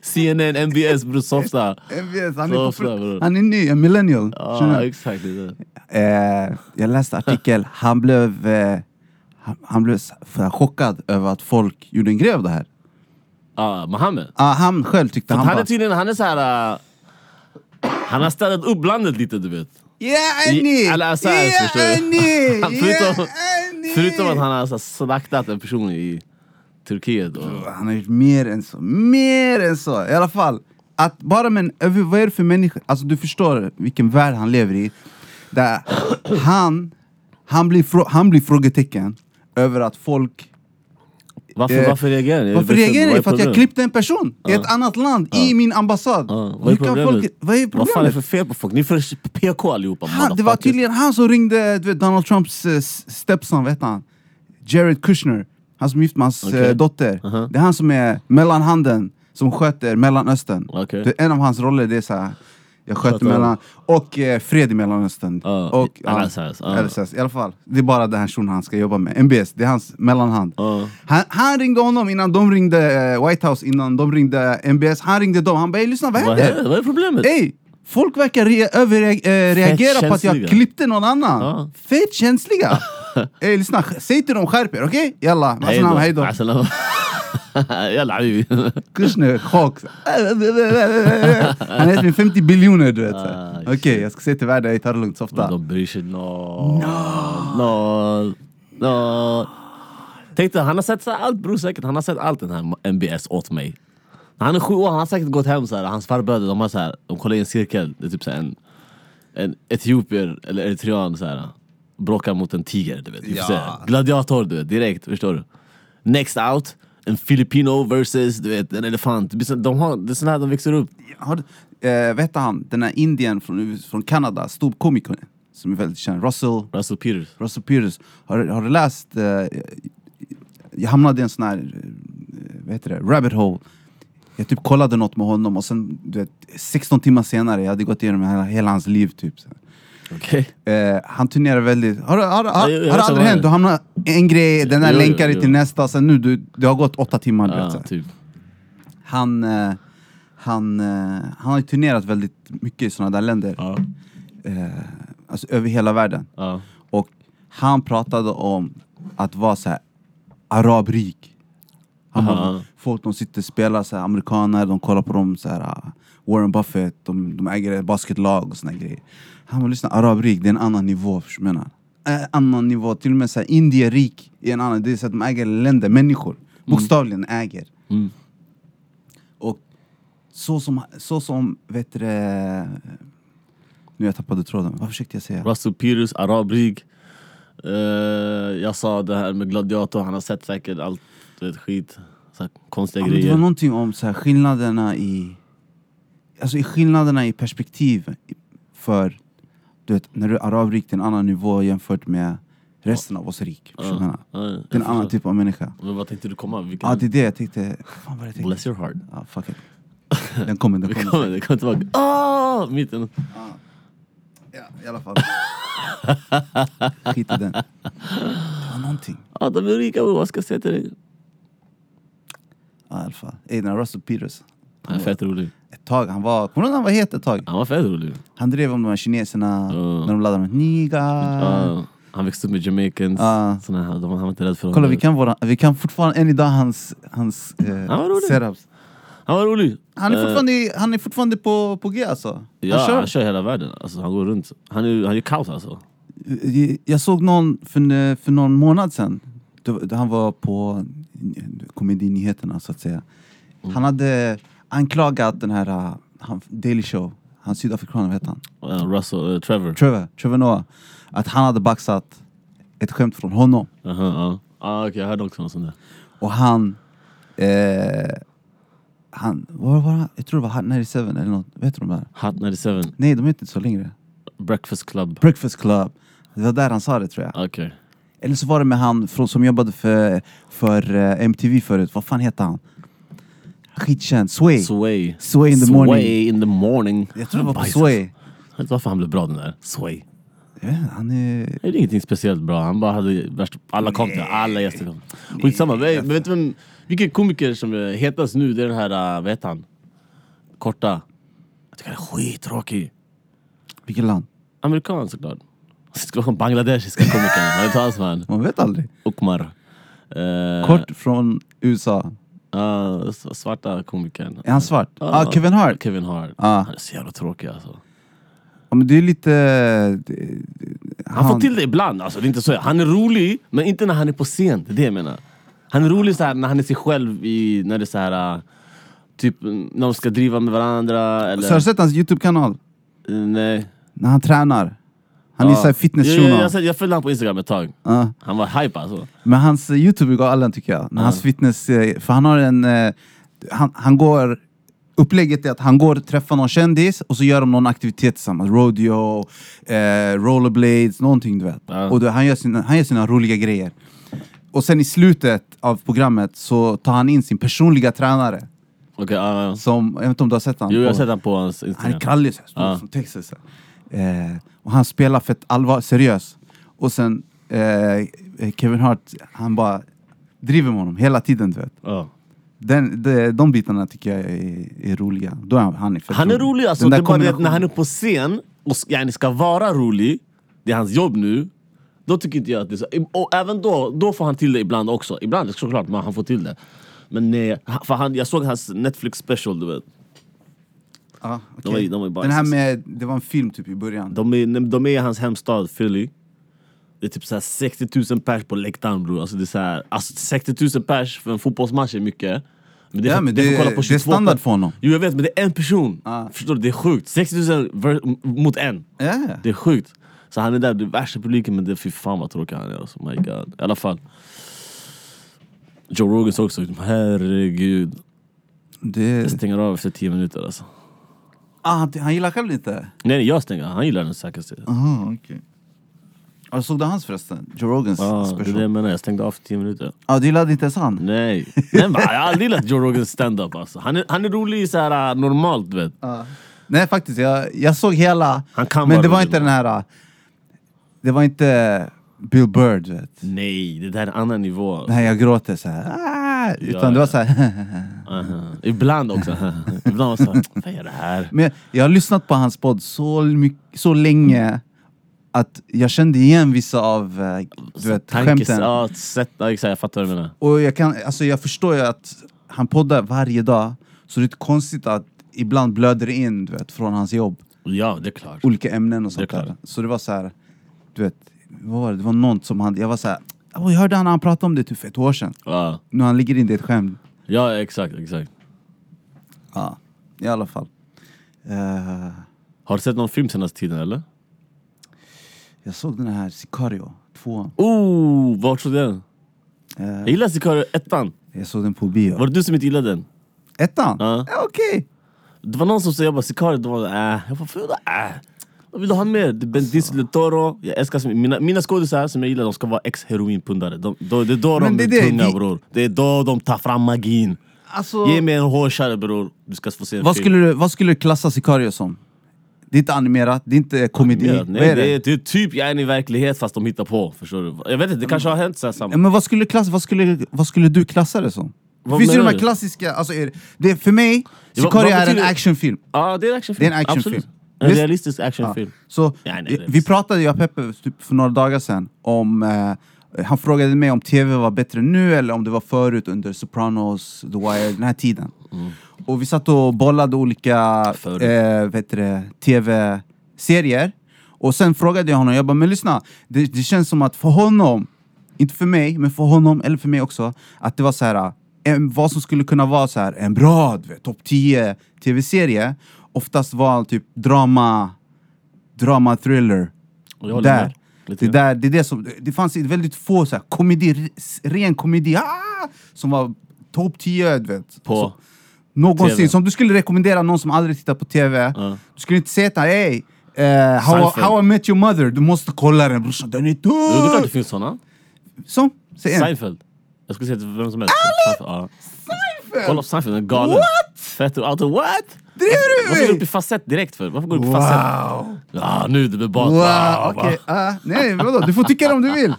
S3: CNN, MBS bror softa.
S2: MBS han, är på,
S3: Så ofta, bror.
S2: fr- han är ny, en millennial. Förstår
S3: Ja,
S2: du?
S3: exakt. det är det.
S2: Eh, jag läste artikel, han blev, eh, han, han blev s- för chockad över att folk gjorde en grej av det här.
S3: Ah, Mohammed.
S2: Ja, han själv tyckte
S3: Han,
S2: han,
S3: han är
S2: bara...
S3: tydligen, han är såhär... Uh, han har städat upp landet lite du vet.
S2: Yeah,
S3: I-
S2: Annie!
S3: alla assar, förstår du?
S2: Annie!
S3: Han-
S2: Yeah,
S3: förutom-
S2: Annie!
S3: Förutom att han har så här slaktat en person i Turkiet. Och,
S2: Han har gjort mer än så, mer än så! I alla fall, att bara men, vad är det för människa? Alltså du förstår vilken värld han lever i. Där han, han, blir, frå, han blir frågetecken över att folk...
S3: varför,
S2: Eh,
S3: varför reagerar ni?
S2: Varför reagerar
S3: Vad är
S2: ni? För att jag
S3: problemet?
S2: klippte en person i ett annat land, i min ambassad.
S3: Ja, vad är
S2: Hur kan
S3: problemet?
S2: vad är
S3: Vad fan är det
S2: problemet?
S3: för fel på folk? Ni är för PK allihopa.
S2: han, det var
S3: motherfuckers.
S2: tydligen han som ringde du vet, Donald Trumps eh, s- stepson, vet han? Jared Kushner, han som är gift med hans
S3: Okej. Uh-huh.
S2: eh, dotter.
S3: Aha.
S2: Det är han som är mellanhanden som sköter Mellanöstern.
S3: Okej.
S2: Det, en av hans roller det är så här, jag sköter
S3: Sköter
S2: mellan... Och eh, fred i Mellanöstern.
S3: Ja,
S2: och,
S3: i- LSS, ja.
S2: LSS. I alla fall, det är bara den här shunon han ska jobba med. MBS, det är hans mellanhand.
S3: Ja.
S2: Han, han ringde honom innan de ringde eh, White House, innan de ringde MBS. Han ringde dem, han bara "Ey, lyssna vad
S3: Vad
S2: händer?
S3: är, vad är problemet?
S2: Ey, folk verkar re- överreagera på att jag
S3: känsliga.
S2: klippte någon annan.
S3: Ja.
S2: Fett känsliga. Ey, lyssna, säg till dem skärp er, okej? Jalla,
S3: Hej då. Alltså.
S2: assalamu hejdå.
S3: Assalam. Jalla habibi.
S2: Kushner, chock. Han äter med 50 biljoner du vet.
S3: Ah,
S2: okej, jag ska säga till världen, ey, ta det lugnt, softa.
S3: De bryr sig noll. Noll. Noll. Tänk dig, han har sett så här allt bror säkert. Han har sett allt den här MBS åt mig. När han är sju år, han har säkert gått hem så här. Hans farbröder, de har så här, de kollar i en cirkel. Det är typ så här en, en etiopier eller eritrean så här. Bråkar mot en tiger, du vet. Vi får
S2: Ja.
S3: se. Gladiator, du vet. Direkt, förstår du? Next out. En filipino versus du vet, en elefant. Det blir så- De har, det är sån här de växer upp.
S2: Har, du- eh, vet han, den här indien från, U- från Kanada, storkomikern som är väldigt känd, Russell
S3: Russell Peters.
S2: Russell Peters, har, har du läst... eh, jag hamnade i en sån här, eh, vad heter det, rabbit hole. Jag typ kollade något med honom och sen, du vet, 16 timmar senare, jag hade gått igenom hela, hela hans liv typ. Så.
S3: Okej.
S2: Eh, han turnerar väldigt... Har, har, har, har
S3: jag vet
S2: det
S3: vad
S2: aldrig
S3: det är.
S2: hänt? Du hamnar en grej, den där
S3: Jo, jo,
S2: länkar dig
S3: jo.
S2: till nästa, sen nu, du, det har gått åtta timmar. Du vet, så.
S3: Ja, typ.
S2: Han, eh, han, eh, han har ju turnerat väldigt mycket i såna där länder,
S3: Ja.
S2: alltså över hela världen.
S3: Ja.
S2: Och han pratade om att vara så här arabrik. Han bara,
S3: Aha.
S2: Folk de sitter och spelar, så här, amerikaner, de kollar på dem så här, ah, Warren Buffett, de, de äger ett basketlag och såna här grejer. Han bara lyssna, arabrik det är en annan nivå, förstår du vad jag menar? Eh, annan nivå, till och med så här, indierik är en annan, det är så att de äger länder, människor. Bokstavligen äger.
S3: Mm.
S2: Och så som, så som vet du, det- nu jag tappade tråden, vad försökte jag säga?
S3: Russell Peters, arabrig. Eh, jag sa det här med gladiator, han har sett säkert allt du vet, skit. Så här,
S2: Ja,
S3: konstiga
S2: men det var
S3: grejer.
S2: någonting om så här, skillnaderna i Alltså i skillnaderna i perspektiv i- för Du vet, när du är arabrik, det är en annan nivå jämfört med resten av oss rik. Förstår du vad jag menar?
S3: Ja, jag
S2: Det är en
S3: förstår.
S2: annan typ av människa.
S3: Men vad tänkte du komma? Vilken...
S2: Ja, det är det jag tänkte. Fan vad jag tänkte.
S3: Bless your heart.
S2: Ja, fuck it. Den kommer, den
S3: Det
S2: kommer.
S3: kommer, det kommer tillbaka. Ah, mitten.
S2: Ja, i alla fall. Skit i den. Det var någonting.
S3: Ah, de är rika bror, vad ska jag säga till dig?
S2: Ja, i alla fall. Ey, den här Russell Peters.
S3: Han är fett rolig.
S2: Ett tag, han var... Kommer du ihåg när han var het ett tag?
S3: Han var fett rolig.
S2: Han drev om de här kineserna,
S3: Ja.
S2: när de laddade med niga.
S3: Ah, han växte upp med jamaicans.
S2: Ah.
S3: Såna här, de, han var inte rädd för
S2: Kolla,
S3: dem.
S2: vi kan, våra, vi kan fortfarande än idag hans, hans eh,
S3: Mm. Ja, vad roligt.
S2: setups.
S3: Han var rolig.
S2: Han är
S3: Eh,
S2: fortfarande, i- han är fortfarande på, på G alltså.
S3: ja,
S2: han kör.
S3: han kör hela världen. Alltså, han går runt. Han är, han är kaos alltså.
S2: Eh, Jag såg någon för, n- för någon månad sedan. Då, då han var på komedinyheterna så att säga.
S3: Mm.
S2: Han hade anklagat den här eh, han, Daily Show, han sydafrikanen, vad heter han?
S3: Eh, Russell, eh, Trevor.
S2: Trevor, Trevor Noah. Att han hade baxat ett skämt från honom.
S3: Aha, ja. ah, okej, jag hörde också något sånt där.
S2: Och han... Eh, han, vad var han? Jag tror det var Hot 97 eller något. Vet du de där?
S3: Hot 97,
S2: Nej, de heter inte så längre.
S3: Breakfast Club.
S2: Breakfast Club. Det var där han sa det tror jag.
S3: Okej.
S2: Eller så var det med han från, som jobbade för, för eh, MTV förut. Vad fan hette han? Skitkänd. Sway.
S3: Sway.
S2: Sway in the morning.
S3: Sway in the morning.
S2: Jag tror det var på
S3: Bajs.
S2: Sway.
S3: Jag vet inte varför han blev bra den där. Sway.
S2: Jag vet inte, han är...
S3: Det är ingenting speciellt bra. Han bara hade värsta... Alla kom till Alla gäster kom. Skitsamma. Men, men vet du vem... Vilken komiker som är hetast nu, det är den här... äh, Vad heter han? Korta. Jag tycker han är skittråkig.
S2: Vilket land?
S3: Amerikan såklart. Det skulle vara en bangladeshiska komiker. Jag vet inte alls vad han
S2: Man vet aldrig.
S3: Ukmar. Eh,
S2: Kort från USA.
S3: ja, s- svarta komikern.
S2: Är han svart? Ja,
S3: Ja.
S2: ah, Kevin Hart.
S3: Kevin Hart.
S2: Ah.
S3: Han är så jävla tråkig alltså.
S2: Ja, men det är lite... det-
S3: Han får till det ibland. Alltså, det är inte så. Han är rolig, men inte när han är på scen. Det är det jag menar. Han är rolig så här, när han är sig själv, i, när det är så här... äh, Typ när de ska driva med varandra eller...
S2: Så har du sett hans YouTube-kanal?
S3: Eh, Nej.
S2: När han tränar. Han är
S3: Ja.
S2: såhär
S3: Jag, jag,
S2: fitnessshunon.
S3: jag, sett- jag följde honom på Instagram ett tag.
S2: Ja.
S3: Han var hype alltså.
S2: Men hans eh, Youtube går alla tycker jag. När hans fitness... eh, För han har en... eh, Han, han går... Upplägget är att han går och träffar någon kändis och så gör de någon aktivitet tillsammans. Rodeo, eh, rollerblades, någonting du vet.
S3: Ja.
S2: Och då, han, gör sina, han gör sina roliga grejer. Och sen i slutet av programmet så tar han in sin personliga tränare.
S3: Okej, ja, ja.
S2: Som, jag vet inte om du har sett honom?
S3: Jo, jag har
S2: På-
S3: sett honom på hans
S2: Han
S3: Instagram.
S2: är krallig, så här, stor
S3: Ja.
S2: som Texas. så här. Eh, och han spelar fett allvar, seriös. Och sen eh, Kevin Hart, han bara driver med honom hela tiden. Du vet.
S3: Ja.
S2: Den, de, de bitarna tycker jag är, är roliga. Då är han, han är fett
S3: Han är rolig alltså,
S2: Den
S3: det
S2: där
S3: är bara det att när
S2: kombinationen.
S3: han är på scen och ska, yani ska vara rolig, det är hans jobb nu, då tycker inte jag att det är så. Och även då, då får han till det ibland också. Ibland såklart, men han får till det. Men nej, han- för han, jag såg hans Netflix special du vet.
S2: Ja,
S3: De var
S2: okej.
S3: ju- de var ju bara
S2: Den här
S3: så-
S2: med, det var en film typ i början.
S3: De är, de är i hans hemstad Philly. Det är typ så här 60 000 pers på läktaren bror. Alltså, det är så här, alltså 60 000 pers för en fotbollsmatch är mycket. Men det, är
S2: Ja,
S3: för-
S2: men
S3: det är för
S2: det-
S3: att kolla på
S2: det är
S3: 22
S2: standard
S3: pers.
S2: för honom.
S3: Jo jag vet, men det är en person.
S2: Ah.
S3: Förstår du? Det är sjukt. 60 000 ver- mot en.
S2: Ja,
S3: Det är sjukt. Så han är där, det är värsta publiken men det fy fan vad tråkig han är alltså. My God. I alla fall. Joe Rogan såg också, herregud.
S2: det,
S3: Jag stänger av efter 10 minuter alltså.
S2: ah, han, han gillar själv inte?
S3: Nej nej, jag stänger, han gillar den säkert.
S2: Aha, okej. Ja, såg du hans förresten? Joe Rogans
S3: Ah, det är
S2: special?
S3: det jag menar, jag stängde av efter 10 minuter.
S2: ah, du gillade inte ens han?
S3: Nej, Nej men jag har aldrig gillat Joe Rogans stand-up alltså. han, är, han är rolig i så här äh, normalt du vet.
S2: Nej faktiskt, jag, jag såg hela.
S3: Han kan
S2: men
S3: vara
S2: det var
S3: rolig,
S2: inte
S3: men-
S2: den här... äh, Det var inte Bill Bird, du vet.
S3: Nej, det där är en annan nivå.
S2: Nej, jag gråter så här. "Ah", Utan
S3: Ja,
S2: det
S3: ja.
S2: var så här.
S3: Aha. Ibland också. Ibland också. Vad är det här?
S2: men jag har lyssnat på hans podd så, mycket, så länge att jag kände igen vissa av äh, du vet,
S3: Tankes-
S2: skämten.
S3: Ja, sätt, ja, exakt, jag fattar vad du menar.
S2: Och jag, kan, alltså jag förstår ju att han poddar varje dag, så det är inte konstigt att ibland blöder det in du vet, från hans jobb.
S3: Ja, det är klart.
S2: olika ämnen och sånt
S3: Det är
S2: där.
S3: klart.
S2: Så det var så här, du vet, vad var det? Det var någon som han, jag var så här, "Åh, jag hörde han, han pratade om det typ för ett år sedan.
S3: Ja,
S2: Nu han ligger in det i ett skämt.
S3: ja exakt, exakt.
S2: Ja, i alla fall. Eh,
S3: Har du sett någon film senaste tiden eller?
S2: jag såg den här Sicario 2.
S3: Oh, vart såg du den?
S2: Eh.
S3: Jag gillar Sicario ettan.
S2: Jag såg den på bio.
S3: Var det du som inte gillade den?
S2: Ettan?
S3: Ja.
S2: Ja, Okej.
S3: Det var någon som sa jag bara Sicario, det var äh. Jag bara, "Fan, äh. Vad vill du ha mer? Det är
S2: Alltså.
S3: Ben Diesel, del Toro. Jag älskar som, mina, mina skådisar som jag gillar, de ska vara ex-heroinpundare. De, de, det är då
S2: Men
S3: de
S2: det är
S3: är
S2: det,
S3: tunga
S2: vi-
S3: bror. Det är då de tar fram magin.
S2: Alltså,
S3: Ge mig en hårkärre bror, du ska få se en
S2: vad,
S3: film.
S2: skulle du, vad skulle du klassa Sicario som? Det är inte animerat, det är inte komedi.
S3: Ja,
S2: vad
S3: nej,
S2: är det?
S3: det, är, det är typ jag är i verklighet fast de hittar på. Förstår du? Jag vet inte, det kanske har hänt så här
S2: Ja,
S3: samma.
S2: Men vad skulle, klass, vad, skulle, vad skulle du klassa det som?
S3: Vad
S2: Finns det de
S3: menar
S2: här
S3: du?
S2: klassiska... Alltså är det, det, för mig,
S3: Ja, vad-
S2: Sicario
S3: vad
S2: är en
S3: betyder-
S2: actionfilm.
S3: Ja, det är en actionfilm.
S2: Det är en actionfilm.
S3: Absolut. En
S2: Visst?
S3: realistisk actionfilm.
S2: Så
S3: Ja, nej,
S2: eh,
S3: det är
S2: vi
S3: visst.
S2: pratade, jag och Peppe, typ för några dagar sedan om... Eh, han frågade mig om TV var bättre nu eller om det var förut under Sopranos, The Wire, den här tiden. Och vi satt och bollade olika
S3: Förut.
S2: eh, vet du det, TV-serier. Och sen frågade jag honom, jag bara men lyssna, det, det känns som att för honom, inte för mig, men för honom eller för mig också, att det var så här, eh, en, vad som skulle kunna vara så här, en bra du vet, topp 10 TV-serie, oftast var typ drama drama thriller.
S3: Och jag håller
S2: Där.
S3: med. Lite
S2: Det, där, det, är det, som, det fanns väldigt få så här, komedi, ren komedi ah, som var topp 10. Du vet.
S3: På?
S2: Så, någonsin.
S3: TV.
S2: Som du skulle rekommendera någon som aldrig tittar på TV.
S3: Ja.
S2: Du skulle inte säga till honom, hey, eh, how,
S3: Seinfeld.
S2: how I met your mother, du måste kolla den brorsan, den är
S3: Jo, det är klart det
S2: tuff!
S3: finns såna.
S2: Så, säg en.
S3: Seinfeld. Jag skulle säga till vem som helst. Seinfeld! Ja. Kolla på Seinfeld, den är galen.
S2: What?
S3: Fett och allt. What?
S2: Driver
S3: Varför går
S2: du
S3: du
S2: med
S3: upp i
S2: mig?
S3: falsett direkt för? Varför går du upp i falsett?
S2: Wow!
S3: Ah, nu det blir barn.
S2: wow. Okej, ah, nej vadå, du får tycka det om du vill.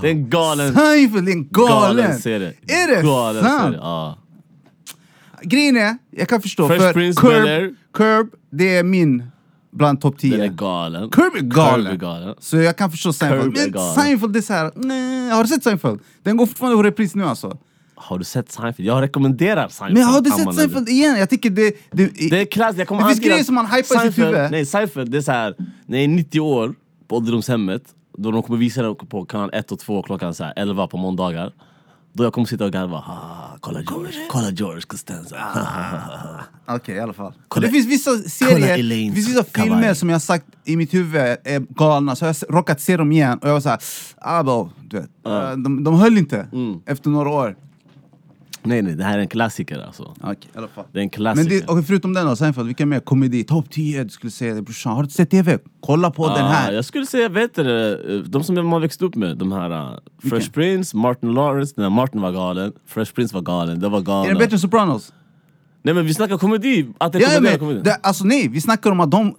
S3: Det är en galen,
S2: Seinfeld är en galen!
S3: galen serie.
S2: Är det
S3: galen
S2: sant?
S3: Serie. Ja.
S2: Grejen är, jag kan förstå,
S3: Fresh
S2: för
S3: Prince Bel-Air.
S2: Curb, Curb, det är min bland topp
S3: Den
S2: 10.
S3: är galen.
S2: Curb är galen.
S3: Curb är galen.
S2: Så jag kan förstå Seinfeld.
S3: Curb är
S2: Men
S3: galen.
S2: Seinfeld, det är såhär, nej, har du sett Seinfeld? Den går fortfarande på repris nu alltså.
S3: Har du sett Seinfeld? Jag rekommenderar Seinfeld.
S2: Men har du sett
S3: Amman, eller?
S2: Seinfeld igen? Jag tycker det... det,
S3: Det är klass, jag kommer
S2: Det finns
S3: alltid
S2: grejer
S3: att-
S2: som man hypar i sitt
S3: Seinfeld-
S2: huvud.
S3: Nej, Seinfeld, det är så här. när jag är 90 år på ålderdomshemmet, då de kommer visa det på kanal 1 och 2 klockan så här, 11 på måndagar. Då jag kommer sitta och garva. Ah, kolla George, kolla George Costanza.
S2: Ah. Okej, i alla fall.
S3: Kolla-
S2: det finns vissa
S3: kolla
S2: serier,
S3: Elaines
S2: det finns vissa
S3: kavaj.
S2: filmer som jag har sagt i mitt huvud är galna, så jag har s- råkat se dem igen och jag var såhär, ah, bro, du vet. Eh, De, de höll inte
S3: Mm.
S2: efter några år.
S3: nej, nej, det här är en klassiker alltså.
S2: Okej, i alla fall.
S3: Det är en
S2: Men
S3: klassiker.
S2: det, och förutom den då, Seinfeld, vilka mer? Komedi, topp 10, du skulle säga det brorsan. Har du inte sett TV? Kolla på den
S3: Ah,
S2: här!
S3: jag skulle säga, vet du, det, eh, de som man växte upp med, de här ah, Fresh
S2: Vilka?
S3: Prince, Martin Lawrence, när Martin var galen, Fresh Prince var galen, det var
S2: Är den
S3: galen.
S2: bättre än Sopranos?
S3: Nej men vi snackar komedi, att
S2: Ja,
S3: rekommendera komedi.
S2: men, det, alltså nej, vi snackar om att de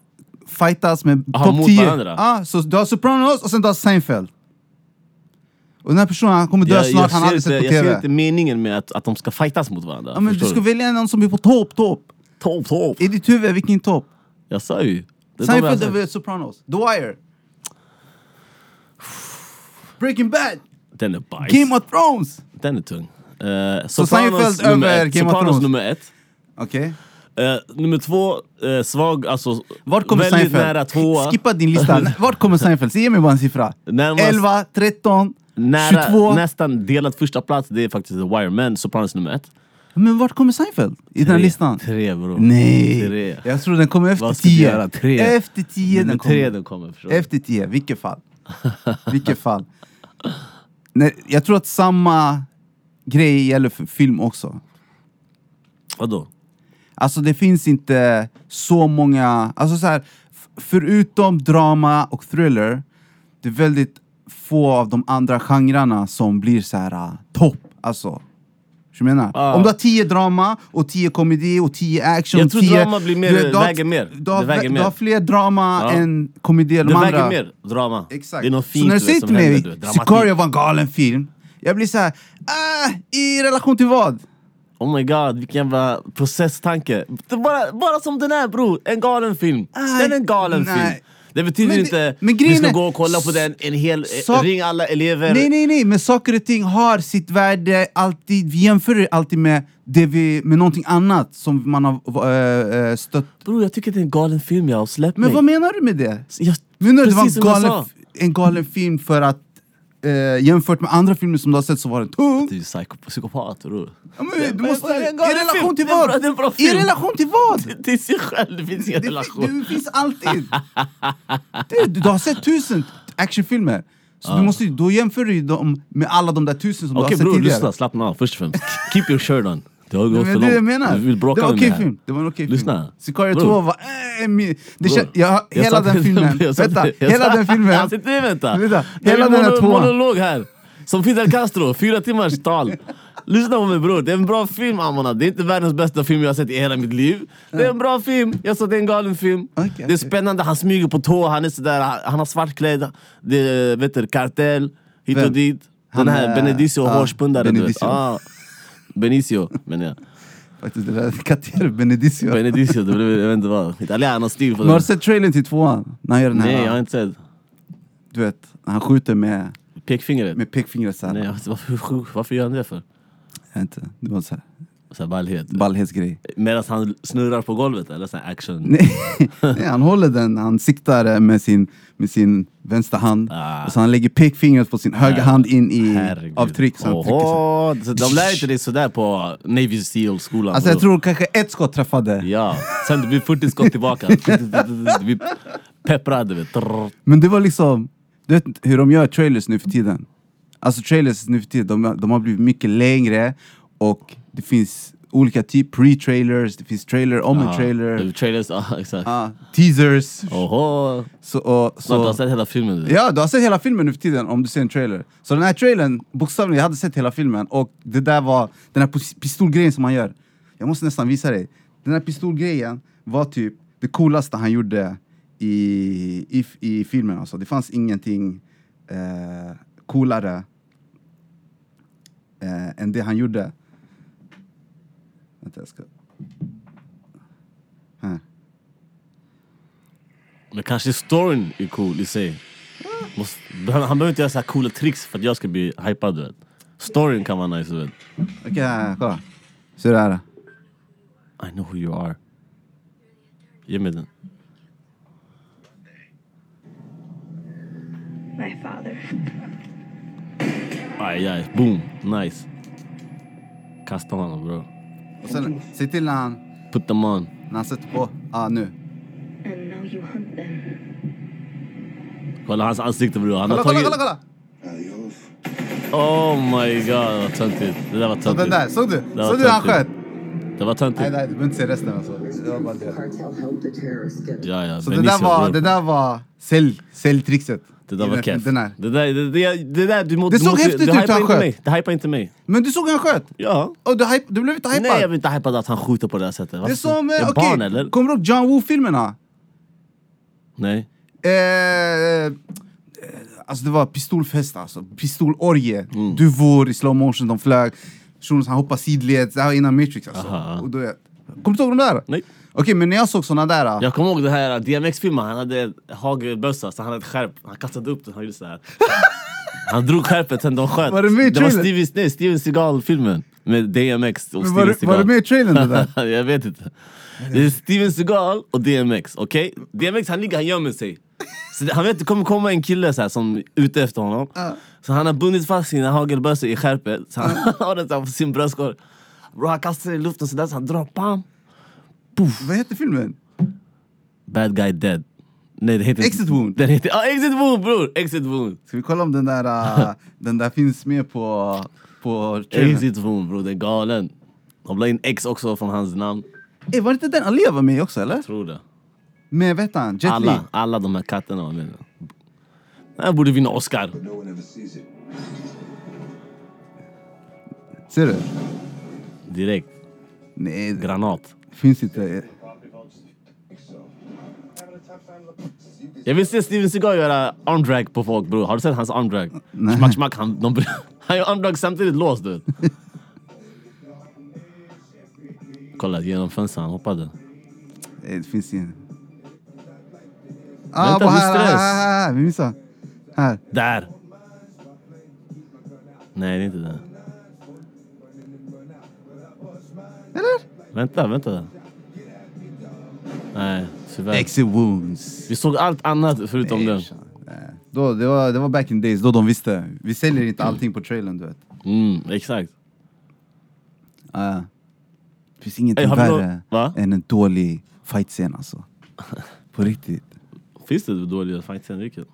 S2: fightas med
S3: Aha,
S2: topp
S3: mot
S2: 10.
S3: varandra.
S2: Ja, så du har Sopranos och sen du har Seinfeld. Och den här personen han kommer dö
S3: Jag- jag
S2: snart, han har
S3: ser
S2: aldrig sett
S3: inte-
S2: på
S3: Jag ser
S2: TV.
S3: inte meningen med att, att de ska fightas mot varandra.
S2: Ja, men du
S3: Förstår
S2: ska välja någon som är på topp, topp.
S3: Topp, topp.
S2: I ditt huvud, vilken topp?
S3: Jag sa ju. Det är de jag
S2: Seinfeld
S3: sa.
S2: över Sopranos. The Wire. Breaking Bad.
S3: Den är bajs.
S2: Game of Thrones.
S3: Den är tung. Uh,
S2: Seinfeld över Game of
S3: Sopranos
S2: Thrones.
S3: nummer ett.
S2: Okej.
S3: Eh, nummer två, eh, svag, alltså
S2: Vart kommer
S3: väldigt
S2: Seinfeld?
S3: nära tvåa.
S2: Skippa din lista. N- Vart kommer Seinfeld? Ge mig bara en siffra.
S3: Närmast-
S2: 11, 13,
S3: nära,
S2: 22.
S3: Nästan delad första plats, det är faktiskt The Wire, men Sopranos nummer ett.
S2: Men vart kommer Seinfeld? I den här
S3: Tre.
S2: listan?
S3: Tre bror.
S2: Nej!
S3: Tre.
S2: Jag tror den kommer efter
S3: Vad ska vi
S2: 10.
S3: göra? Tre.
S2: Efter 10
S3: Nummer
S2: den
S3: tre
S2: kommer.
S3: den kommer. förstår du?
S2: Efter 10, vilket fall. Vilket fall. Nej, jag tror att samma grej gäller för film också.
S3: Vadå?
S2: Alltså det finns inte så många, alltså så här, f- förutom drama och thriller, det är väldigt få av de andra genrerna som blir så här ah, topp. Alltså, Förstår du vad jag menar?
S3: Ah.
S2: Om du har tio drama, och tio komedi, och tio action,
S3: Jag tror
S2: tio,
S3: drama blir mer-
S2: du- du har-
S3: väger mer.
S2: Du har,
S3: Det väger
S2: vä-
S3: mer.
S2: du har fler drama
S3: Ja.
S2: än komedi.
S3: Det väger mer, drama.
S2: Exakt.
S3: Det är något fint
S2: så när du
S3: vet,
S2: säger
S3: som
S2: till mig
S3: händer, du vet. Dramatik.
S2: Sicario var en galen film, jag blir så här, ah, i relation till vad?
S3: Oh my god, vilken jävla processtanke. Det är bara, bara som den är bror, en galen film.
S2: Nej,
S3: den är en galen
S2: Ah, nej.
S3: film. Det betyder
S2: Men det-
S3: inte
S2: men
S3: vi
S2: grejen
S3: ska
S2: är-
S3: gå och kolla på den en hel... eh,
S2: Sak-
S3: ring alla elever.
S2: Nej, nej, nej, men saker och ting har sitt värde alltid. Vi jämför det alltid med, det vi, med någonting annat som man har eh, eh, stött.
S3: Bror jag tycker det är en galen film jag och släpp
S2: Men
S3: mig.
S2: vad menar du med det?
S3: jag,
S2: Menar du det var
S3: precis
S2: en
S3: som jag
S2: galen,
S3: sa.
S2: f- en galen film för att eh, jämfört med andra filmer som du har sett så var den tung?
S3: Du är psyko, psykopat bror.
S2: Ja,
S3: typ. Det-
S2: men, du
S3: det-
S2: måste,
S3: det är en
S2: I
S3: galen film.
S2: relation till
S3: Det är en bra-
S2: vad?
S3: det är en bra
S2: I
S3: film.
S2: relation till vad?
S3: Till sig själv, det finns ingen
S2: Det, fi-
S3: relation.
S2: det finns alltid. Du, du, du har sett tusen actionfilmer. Så du måste, ju- då jämför du ju dem med alla de där tusen som du
S3: Okej
S2: har sett
S3: bror,
S2: tidigare.
S3: lyssna, slappna av först och främst. Keep your shirt on. Det har
S2: Det
S3: gått
S2: var
S3: för
S2: det jag
S3: långt.
S2: menar.
S3: Du vill
S2: det
S3: bråka
S2: var
S3: med
S2: okej
S3: mig här.
S2: film. Det var en okej
S3: Lyssna.
S2: film. Sicario
S3: Bror.
S2: 2 var... Äh, min- det kän,
S3: Bror,
S2: jag,
S3: jag
S2: hela
S3: satt-
S2: den filmen.
S3: jag satt-
S2: Vänta,
S3: jag
S2: hela
S3: satt-
S2: den filmen.
S3: Alltså, inte vänta.
S2: Vänta,
S3: Det är
S2: hela
S3: min
S2: den här
S3: mono-
S2: tvåan.
S3: Monolog här. Som Fidel Castro, fyra timmars tal. Lyssna på mig bror, det är en bra film Amana. Det är inte världens bästa film jag har sett i hela mitt liv. Det är en bra film. Jag sa det är en galen film.
S2: Okej,
S3: det är
S2: okej.
S3: spännande, han smyger på tå, han är sådär, han- han har svartklädd. Det är, vet du, kartell, hit och
S2: Vem?
S3: dit.
S2: Han
S3: Den här
S2: är-
S3: Benedicio,
S2: ja,
S3: hårspundare. du vet.
S2: Benedicio.
S3: Ah, Benicio menar jag.
S2: Faktiskt, det där Kater Benedicio. Men
S3: Benedicio, det blev, jag vet inte vad. Italiano-stil på
S2: har
S3: den.
S2: du sett trailern till tvåan? När han gör den här...
S3: Nej, jag har inte sett.
S2: Du vet, när han skjuter med,
S3: Pekfingret.
S2: med pekfingret såhär.
S3: Nej, jag vet inte, varför, varför gör han det för?
S2: Jag vet inte. Det var såhär
S3: Så här ballhet.
S2: ballhetsgrej.
S3: Medan han snurrar på golvet eller sån här action.
S2: Nej, nej, han håller den, han siktar eh, med sin, med sin vänstra hand.
S3: Ah.
S2: Och så han lägger pekfingret på sin högra hand in i
S3: Herregud.
S2: avtryck. Så han trycker så. här.
S3: Oho, så de lär inte dig sådär på Navy Seal-skolan.
S2: Alltså jag
S3: bro.
S2: tror kanske ett skott träffade.
S3: Ja, sen det blir 40 skott tillbaka. Vi pepprar, du vet. Trrr.
S2: Men det var liksom, Du vet hur de gör trailers nu för tiden? Alltså trailers nu för tiden, de, de har blivit mycket längre och det finns olika typer, pre-trailers, det finns trailer om en trailer,
S3: Trailers, ja exakt.
S2: ja, teasers.
S3: Oho!
S2: Så, och,
S3: Så. Du har
S2: så,
S3: sett hela filmen? du.
S2: ja, du har sett hela filmen nu för tiden om du ser en trailer. Så den här trailern, bokstavligen, jag hade sett hela filmen och det där var den här pis- pistolgrejen som han gör. Jag måste nästan visa dig. Den här pistolgrejen var typ det coolaste han gjorde i, i, i filmen. Alltså. Det fanns ingenting eh, coolare eh, än det han gjorde. Vänta, jag ska... Här.
S3: Men kanske storyn är cool i sig. Måste, han, han behöver inte göra så här coola tricks för att jag ska bli hypad du vet. Storyn kan vara nice du vet.
S2: Okej, här, kolla. Ser du det här?
S3: I know who you are. Ge mig den.
S4: My father.
S3: Aj, aj, boom, nice. Kasta honom bro.
S2: Och sen, se till när han...
S3: Put them on.
S2: När han sätter på... ah, nu.
S4: And now you hunt them.
S3: Kolla hans ansikte bror. Han
S2: Kolla,
S3: har
S2: kolla,
S3: tagit...
S2: kolla, kolla!
S3: Oh my god vad töntigt. Det där var
S2: Så den där,
S3: töntigt.
S2: såg du?
S3: var
S2: Såg du hur han
S3: töntigt.
S2: sköt?
S3: Det var
S2: Nej,
S3: töntigt.
S2: nej, du behöver inte se resten alltså. Det var bara det.
S5: cartel helped the terrorists get
S3: Ja, ja,
S2: Så det där
S3: Benicio,
S2: var,
S3: bror.
S2: det där var sälj, säljtrixet.
S3: Det där
S2: I
S3: var
S2: den-
S3: keff.
S2: Den här.
S3: Det där, det, det, det där, du må,
S2: Det
S3: du
S2: såg
S3: måste-
S2: häftigt
S3: det
S2: ut hur
S3: hypar
S2: han
S3: inte
S2: sköt.
S3: mig. Det hypar inte mig.
S2: Men du såg hur han sköt?
S3: Ja.
S2: Och du, hype, du blev inte
S3: Nej, jag
S2: hypad?
S3: blir inte hypad att han skjuter på det här sättet.
S2: Det är
S3: Varför-
S2: som,
S3: är
S2: eh,
S3: jag barn
S2: okej,
S3: eller?
S2: kommer du ihåg John Woo-filmerna?
S3: Nej.
S2: Eh, eh, alltså det var pistolfest alltså, pistolorgie.
S3: Mm.
S2: Duvor i slow motion, de flög. Shunos han hoppade sidled, det här var innan Matrix alltså.
S3: Aha.
S2: Och då, är- kommer du inte ihåg de där?
S3: Nej.
S2: Okej, men när jag såg såna där... ah,
S3: Jag kommer ihåg det här DMX-filmen, han hade hagelbössa, så han hade ett skärp. Han kastade upp den, han gjorde så här. Han drog skärpet sen de sköt.
S2: Var det med i
S3: det var
S2: trailern?
S3: Steven, nej, Steven Seagal-filmen med DMX och
S2: Men
S3: Steven
S2: var, var
S3: Seagal.
S2: det med i trailern det där?
S3: jag vet inte. Det är Steven Seagal och DMX, okej? DMX han ligger, han gömmer sig. Så det, han vet att det kommer komma en kille så här, som är ute efter honom. Så han har bundit fast sina hagelbössor i skärpet, så han har den så här på sin bröstkorg. Bro, han kastar den i luften sådär, så han drar, bam!
S2: Vad hette filmen?
S3: Bad guy dead. Nej, det heter
S2: Exit wound.
S3: Den heter, ja, exit wound bror! Exit wound!
S2: Ska vi kolla om den där, äh, den där finns med på, på trailern?
S3: Exit wound bror, det är galen. De la in X också från hans namn.
S2: Ey, Eh, var det inte den Alia var med också eller?
S3: Tror det.
S2: Med vet han, Jet Li?
S3: Alla, alla de här katterna var med. Den här borde vinna Oscar.
S6: but no one ever sees it.
S2: Ser du?
S3: Direkt.
S2: Nej, det
S3: Granat.
S2: finns inte. Eh,
S3: Jag vill se Steven Seagal göra armdrag på folk bror. Har du sett hans armdrag? Smack smack. Han, de, han gör armdrag samtidigt låst du vet. Kolla genom fönstret, han hoppade.
S2: Nej, det finns inte. Ah,
S3: Vänta,
S2: på
S3: det är
S2: här,
S3: stress.
S2: här, här, här, vi missade. Här.
S3: Där! Nej, det är inte där.
S2: Eller?
S3: Vänta, vänta. Nej, tyvärr.
S2: Exit wounds.
S3: Vi såg allt annat förutom den.
S2: Nej. Eh, Då, det, var, det var back in days, då de visste. Vi säljer inte allting på trailern du vet.
S3: Mm, exakt.
S2: Ah. Det finns ingenting
S3: Ey, har vi nå-
S2: värre
S3: Va?
S2: än en dålig fightscen alltså. På riktigt.
S3: Finns det dåliga fightscener? Vilket?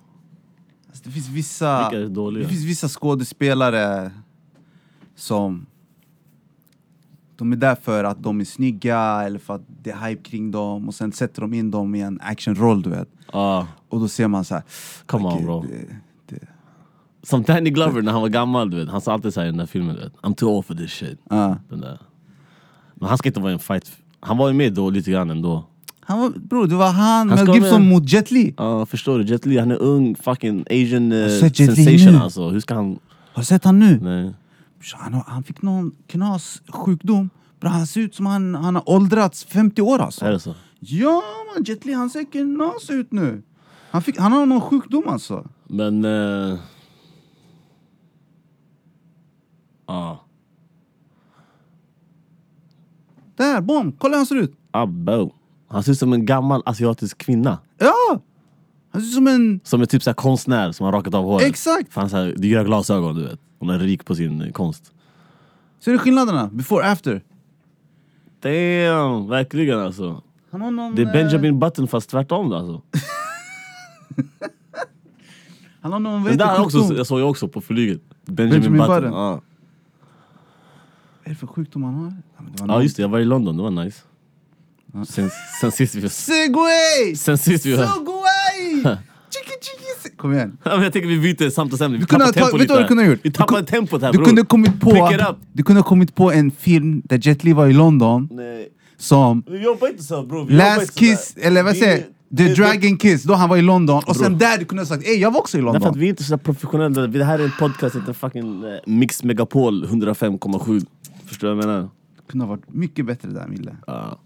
S2: Alltså, det finns vissa,
S3: Vilka är dåliga?
S2: det finns vissa skådespelare som... De är där för att de är snygga eller för att det är hype kring dem och sen sätter de in dem i en actionroll, du vet.
S3: Ah,
S2: Och då ser man så här...
S3: come
S2: okej,
S3: on bro.
S2: det- det-
S3: Som Danny Glover när han var gammal, du vet. Han sa alltid såhär i den där filmen, du vet. I'm too old for this shit.
S2: ja.
S3: Den där. Men han ska inte vara i en fight. Han var ju med då lite grann ändå.
S2: Han var, bro, det var han,
S3: Han
S2: Mel
S3: ska
S2: Gibson
S3: med-
S2: mot Jet Li.
S3: Ja, förstår du? Jet Li, han är ung fucking asian eh,
S2: har sett Jet Li
S3: sensation
S2: nu.
S3: alltså. Hur ska han...
S2: Har du sett han nu?
S3: Nej.
S2: Bror, Han, har- han fick någon knassjukdom. Bro, han ser ut som han, han har åldrats 50 år alltså.
S3: Är det så?
S2: Ja man, Jet Li han ser knas ut nu. Han, fick, han har någon sjukdom alltså.
S3: Men... eh, Ja.
S2: Där, bom! Kolla hur han ser ut.
S3: Abbo. Han ser ut som en gammal asiatisk kvinna.
S2: Ja! Han ser ut som en...
S3: Som är typ så här konstnär som har rakat av håret.
S2: Exakt!
S3: Fan, så här, det gör glasögon, du vet. Hon är rik på sin eh, konst.
S2: Ser du skillnaderna? Before after.
S3: Damn, verkligen alltså.
S2: Han har någon...
S3: Det är Benjamin Button fast tvärtom då, alltså.
S2: eh, Han har någon, vad
S3: Den
S2: heter
S3: där har jag också,
S2: sjukdom?
S3: jag såg jag också på flyget. Benjamin,
S2: Benjamin
S3: Button.
S2: Button.
S3: Ja.
S2: Vad är det för sjukdom han har? Ja, men det var
S3: ja
S2: någon-
S3: just det, jag var i London, det var nice. Sen, sen sist vi...
S2: Segway!
S3: Sen sist vi...
S2: Segway! Chiki, chiki, se- Kom igen.
S3: Ja, men jag tänker vi byter samtalsämne, vi
S2: kunde
S3: tappar
S2: ha tagit-
S3: tempo
S2: vet du
S3: lite.
S2: vad du kunde ha gjort?
S3: Vi
S2: Du
S3: tappar
S2: kun-
S3: tempot här
S2: Du
S3: bror.
S2: kunde, kommit på,
S3: Pick it up.
S2: du kunde ha kommit på en film där Jet Li var i London
S3: Nej,
S2: som
S3: vi jobbar inte så bror. Vi jobbar
S2: Last
S3: inte så där.
S2: Kiss, eller vad
S3: Vi-
S2: säger The
S3: det- det-
S2: Dragon Kiss, då han var i London. Och sen
S3: Bror.
S2: där du kunde ha sagt ey jag var också i
S3: Därför att
S2: London.
S3: vi är inte så där professionella. Det här är en podcast, inte en fucking eh, Mix Megapol 105,7. Förstår du vad jag menar?
S2: Det kunde ha varit mycket bättre där Mille.
S3: Ja.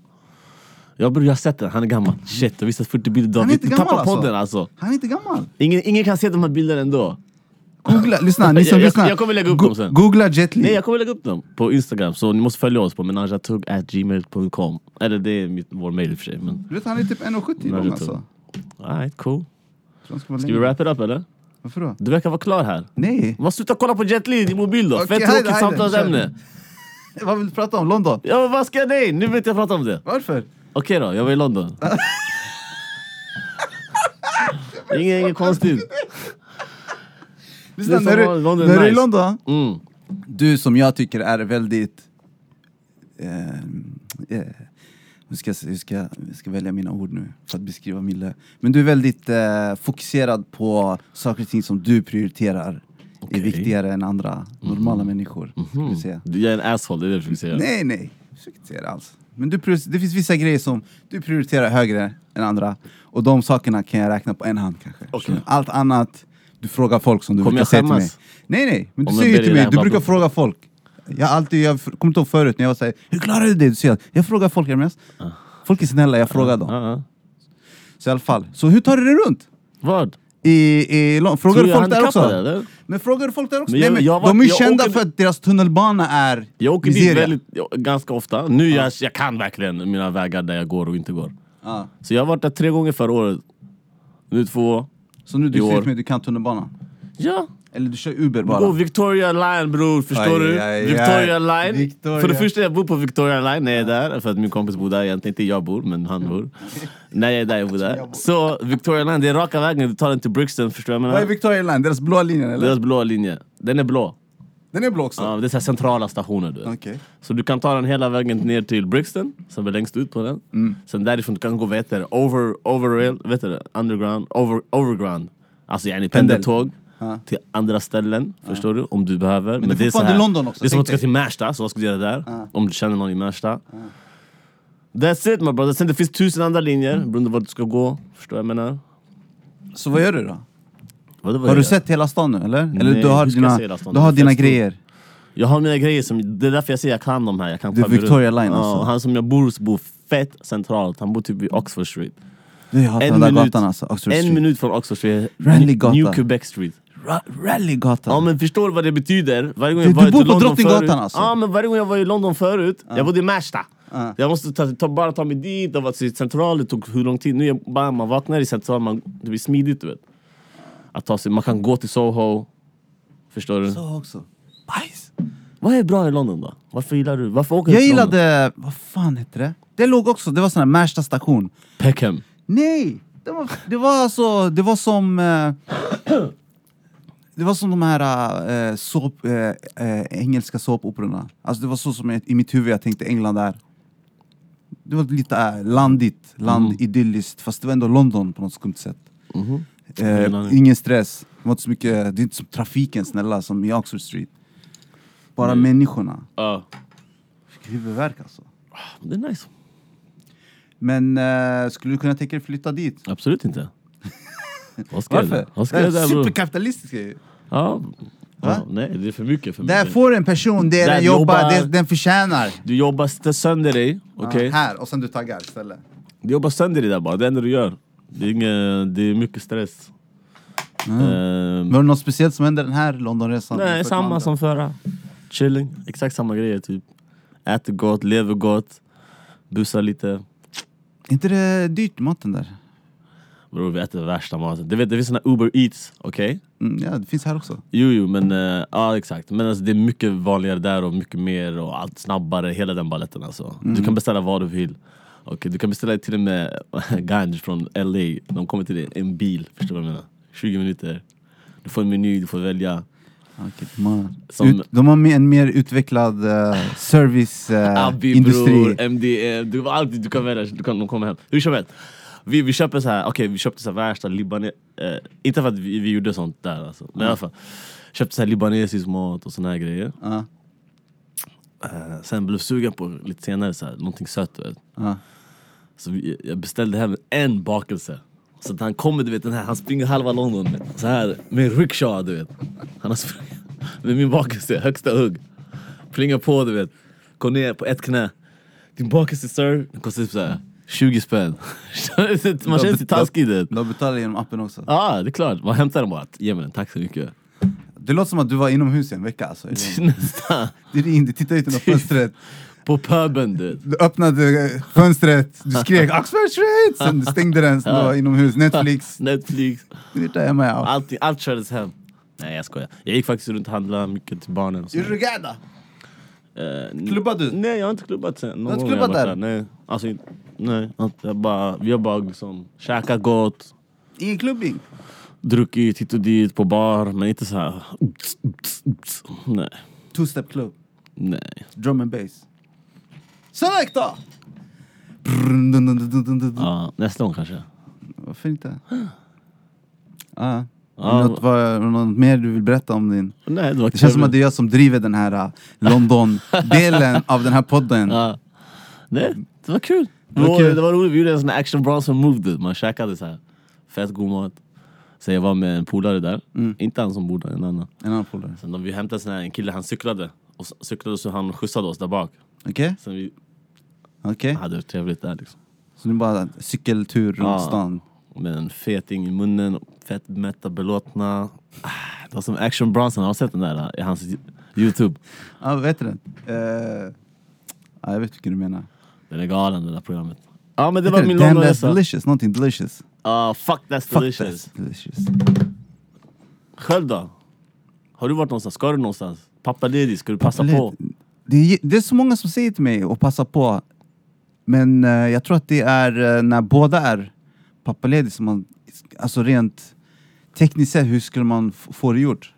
S3: Jag bror, jag har sett den. Han är gammal. Shit, jag visste 40 bilder idag.
S2: Han är
S3: Vi
S2: inte gammal,
S3: tappar
S2: alltså.
S3: podden alltså.
S2: Han är inte gammal.
S3: Ingen, ingen kan se de här bilderna ändå.
S2: Googla, lyssna ni som
S3: Jag- jag-
S2: lyssnar.
S3: jag kommer lägga upp
S2: Go-
S3: dem sen.
S2: Googla Jet Li.
S3: Nej, jag kommer lägga upp dem på Instagram. Så ni måste följa oss på menageatug.gmail.com. Eller det är mitt, vår mail i och för sig. Men
S2: Du vet han är typ 1,70
S3: Nej,
S2: lång
S3: det
S2: alltså.
S3: tror alright, cool.
S2: Jag tror han ska vara
S3: Ska vi
S2: längre.
S3: wrap it up eller?
S2: Varför då?
S3: Du verkar vara klar här.
S2: Nej,
S3: Vad sluta kolla på Jet Li i din mobil då?
S2: Okej,
S3: Fett
S2: hej,
S3: tråkigt
S2: hej,
S3: samtalsämne.
S2: vad vill du prata om? London?
S3: Ja, men vad ska jag... Nej, nu vill inte jag prata om det.
S2: Varför?
S3: Okej då, jag var i London. Inget, inget konstigt.
S2: Lyssna,
S3: som
S2: när du,
S3: var- London
S2: när du är i
S3: nice.
S2: London,
S3: Mm.
S2: du som jag tycker är väldigt... Eh, eh, hur, ska, jag- hur, ska, jag- jag ska välja mina ord nu för att beskriva Mille? Men du är väldigt eh, fokuserad på saker och ting som du prioriterar
S3: Okej. Mhm.
S2: är viktigare än andra normala människor. Skulle jag säga.
S3: Du är en asshole, det är det mm. jag försöker säga.
S2: Nej, nej. Jag försöker inte säga det alls. Men du, prior- det finns vissa grejer som du prioriterar högre än andra. Och de sakerna kan jag räkna på en hand kanske.
S3: Okej.
S2: Allt annat, du frågar folk som du
S3: Kommer
S2: brukar
S3: jag
S2: säga till mig.
S3: skämmas?
S2: Nej, nej. Men du
S3: Om jag
S2: säger ju
S3: ber
S2: till
S3: dig
S2: mig, du
S3: ramla
S2: brukar
S3: upp?
S2: fråga folk. Jag, har alltid, jag kommer inte ihåg förut när jag var såhär, hur klarar du det? Du säger att jag frågar folk, Hermes.
S3: Ah.
S2: Folk är snälla, jag frågar dem.
S3: Ja, ja.
S2: Så i alla fall. Så hur tar du det runt?
S3: Vad?
S2: I, i, Lon- frågar
S3: Tror
S2: du
S3: jag
S2: folk där också?
S3: handikappade, eller?
S2: Men frågar du folk där också?
S3: Men jag-
S2: nej, men
S3: jag var-
S2: de är ju
S3: jag
S2: kända
S3: åker-
S2: för att deras tunnelbana är
S3: Jag åker dit
S2: Nigeria.
S3: väldigt, ja, ganska ofta. Nu jag, jag kan verkligen mina vägar där jag går och inte går.
S2: Ja.
S3: Så jag har varit där tre gånger förra året. Nu två.
S2: Så nu
S3: I
S2: du
S3: år.
S2: ser ut med att du kan tunnelbanan?
S3: Ja,
S2: Eller du kör Uber
S3: Gå
S2: bara?
S3: Victoria Line bror, förstår
S2: Aj, aj,
S3: du?
S2: aj.
S3: Victoria Line.
S2: Victoria.
S3: För det första, jag bor på Victoria Line när jag är där. För att min kompis bor där, egentligen inte jag bor, men han bor. när jag är där, jag bor där. Så Victoria Line, det är raka vägen, du tar den till Brixton, förstår du vad jag
S2: Vad är
S3: menar?
S2: Victoria Line? Deras blåa linjen eller?
S3: Deras blåa linje. Den är blå.
S2: Den är blå också?
S3: Ja, det är så här centrala stationer du vet.
S2: Okej.
S3: Så du kan ta den hela vägen ner till Brixton, som är längst ut på den.
S2: Mm.
S3: Sen därifrån du kan gå vad heter det, over, overrail, vet du det? Underground, over, overground. Alltså yani
S2: Pendel.
S3: pendeltåg.
S2: Ja.
S3: Till andra ställen, förstår du? Om du behöver. Men,
S2: det är
S3: så
S2: fortfarande
S3: här-
S2: London också,
S3: Det är som
S2: tänk
S3: att du ska
S2: dig.
S3: till Märsta, så vad ska du göra där? Om du känner någon i Märsta. That's it my brother. Sen det finns tusen andra linjer
S2: Mm.
S3: beroende på vart du ska gå. Förstår jag vad jag menar?
S2: Så vad gör du då?
S3: Vadå, vad
S2: Har
S3: jag
S2: du
S3: gör?
S2: sett hela stan nu eller? eller
S3: Nej,
S2: du har
S3: hur ska jag se hela
S2: dina,
S3: stan?
S2: du har
S3: Det är
S2: dina
S3: fett
S2: grejer?
S3: Jag har mina grejer, som, det är därför jag säger jag kan de här. Jag kan
S2: Det är
S3: klaviatur.
S2: Victoria Line
S3: Ja,
S2: alltså.
S3: och Han som jag bor hos bor fett centralt, han bor typ vid Oxford Street.
S2: Du, jag hatar den där gatan alltså, Oxford
S3: en
S2: Street.
S3: minut från Oxford Street,
S2: Rallygatan.
S3: New Quebec Street.
S2: Ra- Rallygatan!
S3: Ja men förstår du vad det betyder? Varje gång
S2: Du-
S3: jag
S2: du
S3: varit
S2: bor
S3: i
S2: på
S3: London
S2: Drottninggatan
S3: förut,
S2: alltså?
S3: Ja men varje gång jag var i London förut, jag bodde i Märsta.
S2: Ja.
S3: Jag måste ta, ta, bara ta mig dit, och vara till central, det tog hur lång tid? Nu är jag, bara, man vaknar i central, man, det blir smidigt du vet. Att ta sig, man kan gå till Soho. Förstår du?
S2: Så också. Bajs!
S3: Vad är bra i London då? Varför gillar du? Varför åker du
S2: Jag
S3: till London?
S2: gillade, vad fan hette det? Det låg också, det var sån här Märsta station.
S3: Peckham.
S2: Nej! Det var, det var alltså, det var som... Eh, det var som de här eh, såp, eh, eh, engelska såpoperorna. Alltså det var så som jag, i mitt huvud jag tänkte England är. Det var lite eh, landigt,
S3: Mhm.
S2: landidylliskt, fast det var ändå London på något skumt sätt.
S3: Ingen
S2: Eh,
S3: aning.
S2: ingen stress, det var inte så mycket, det är inte som trafiken snälla, som i Oxford Street. Bara
S3: Mm.
S2: människorna.
S3: Ja.
S2: Fick huvudvärk alltså.
S3: Det är nice.
S2: Men eh, skulle du kunna tänka dig flytta dit?
S3: Absolut inte. Vad ska jag
S2: Varför? Eh,
S3: där? Vad ska
S2: Det
S3: jag
S2: är
S3: där bror?
S2: Superkapitalistisk grej.
S3: Ja.
S2: Va?
S3: ja. Nej, det är för mycket för
S2: Där
S3: mig.
S2: får en person det
S3: Där
S2: den jobbar,
S3: jobbar-
S2: det den förtjänar.
S3: Du jobbar st- sönder dig. Okej?
S2: Ja, här, och sen du taggar istället.
S3: Du jobbar sönder dig där bara. Det är det enda du gör. Det är, inga, det är mycket stress. Ehm,
S2: Var det något speciellt som hände den här Londonresan?
S3: nej,
S2: jämfört med andra?
S3: samma som förra. Chilling. Exakt samma grejer typ. Äter gott, lever gott. Busar lite.
S2: Är inte det dyrt, maten där?
S3: Bror, vi äter värsta maten. Du vet, det finns såna Uber Eats, okej?
S2: Mm, ja, det finns här också.
S3: Jo, jo, men eh, ja exakt. Men alltså, det är mycket vanligare där och mycket mer och allt snabbare. Hela den baletten alltså. Du kan beställa vad du vill. Okay, du kan beställa till och med Ganj från LA. De kommer till dig i en bil, förstår du vad jag menar? 20 minuter. Du får en meny, du får välja.
S2: Okej, de, har,
S3: Som-
S2: ut, de har mer- en mer utvecklad eh,
S3: Abbi
S2: serviceindustri.
S3: bror, Eh, MDM, du, allt, du kan välja, du kan, de kommer hem. Hur som helst. Vi, vi köper så här, okej vi köpte så här värsta libanes... Eh, inte för att vi, vi gjorde sånt där alltså, men i alla fall. Köpte så här libanesisk mat och såna här grejer.
S2: Ja.
S3: Eh, sen blev sugen på lite senare så här, någonting sött du vet.
S2: Ja.
S3: Så vi, jag beställde hem en bakelse. Så att han kommer, du vet, den här, han springer halva London med, så här, med en rickshaw, du vet. Han har sprungit med min bakelse, högsta hugg. Plingar på, du vet. Går ner på ett knä. Din bakelse sir, den kostar typ så här 20 spänn. Man känner sig taskig, du vet.
S2: Du har betalat genom appen också.
S3: Ja, det är klart. Man hämtar den bara. Ge mig den, tack så mycket.
S2: Det låter som att du var inomhus i en vecka alltså.
S3: Nästan.
S2: Du ringde, tittade ut genom fönstret,
S3: På puben, du vet.
S2: du öppnade eh, fönstret, du skrek Oxford Street! Sen du stängde den, sen du var inomhus, Netflix.
S3: Netflix.
S2: Det är där jag med. ja.
S3: Allting, allt kördes hem. Nej jag skojar. Jag gick faktiskt runt och handlade mycket till barnen. Och så.
S2: Urugada!
S3: Eh,
S2: Klubbade du?
S3: Nej, jag har inte klubbat sen. Någon
S2: har inte
S3: gång har
S2: klubbat
S3: jag varit Nej, alltså, inte- nej. Att Jag bara, vi har bara liksom käkat gott,
S2: Ingen klubbing?
S3: druckit hit och dit på bar, men inte så här... ups, ups, ups. Nej,
S2: Two step club,
S3: nej.
S2: drum and bass. Selecta!
S3: Ja, nästa gång kanske.
S2: Varför inte? Ah.
S3: Ja,
S2: Något, vad- något mer du vill berätta om din...
S3: Nej, det var
S2: Det känns som att det är jag som driver den här eh, London-delen av den här podden.
S3: Ja. Nej, det var kul. Det
S2: var
S3: var,
S2: kul.
S3: det var roligt. Vi gjorde en sån här action Bronson move. dude. Man käkade så här fett god mat. Sen jag var med en polare där.
S2: Mm.
S3: Inte han som bodde, en annan.
S2: En annan polare.
S3: Sen då vi hämtade sån här, en kille, han cyklade. Och s- cyklade så han skjutsade oss där bak.
S2: Okej?
S3: Sen vi
S2: Okej.
S3: hade det trevligt där liksom.
S2: Så nu bara cykeltur runt
S3: Ja.
S2: stan.
S3: Med en feting i munnen, fett mätta, belåtna. Ah, Det var som Action Bronson, har du sett den där? eh, I hans youtube.
S2: Ja, Ah, vad heter den? Eh, ja, jag vet vilken du menar.
S3: Den är galen det där programmet. Ja men det var
S2: Heter
S3: min
S2: det Damn
S3: långa
S2: that's
S3: resa.
S2: delicious, någonting delicious.
S3: Ah, fuck that's
S2: Fuck
S3: delicious.
S2: that's delicious.
S3: Själv då? Har du varit någonstans? Ska du någonstans? Pappaledig, ska du passa på?
S2: Det, är, det är så många som säger till mig att passa på. Men eh, jag tror att det är eh, när båda är pappaledig som man... Alltså rent tekniskt sett, hur skulle man f- få det gjort?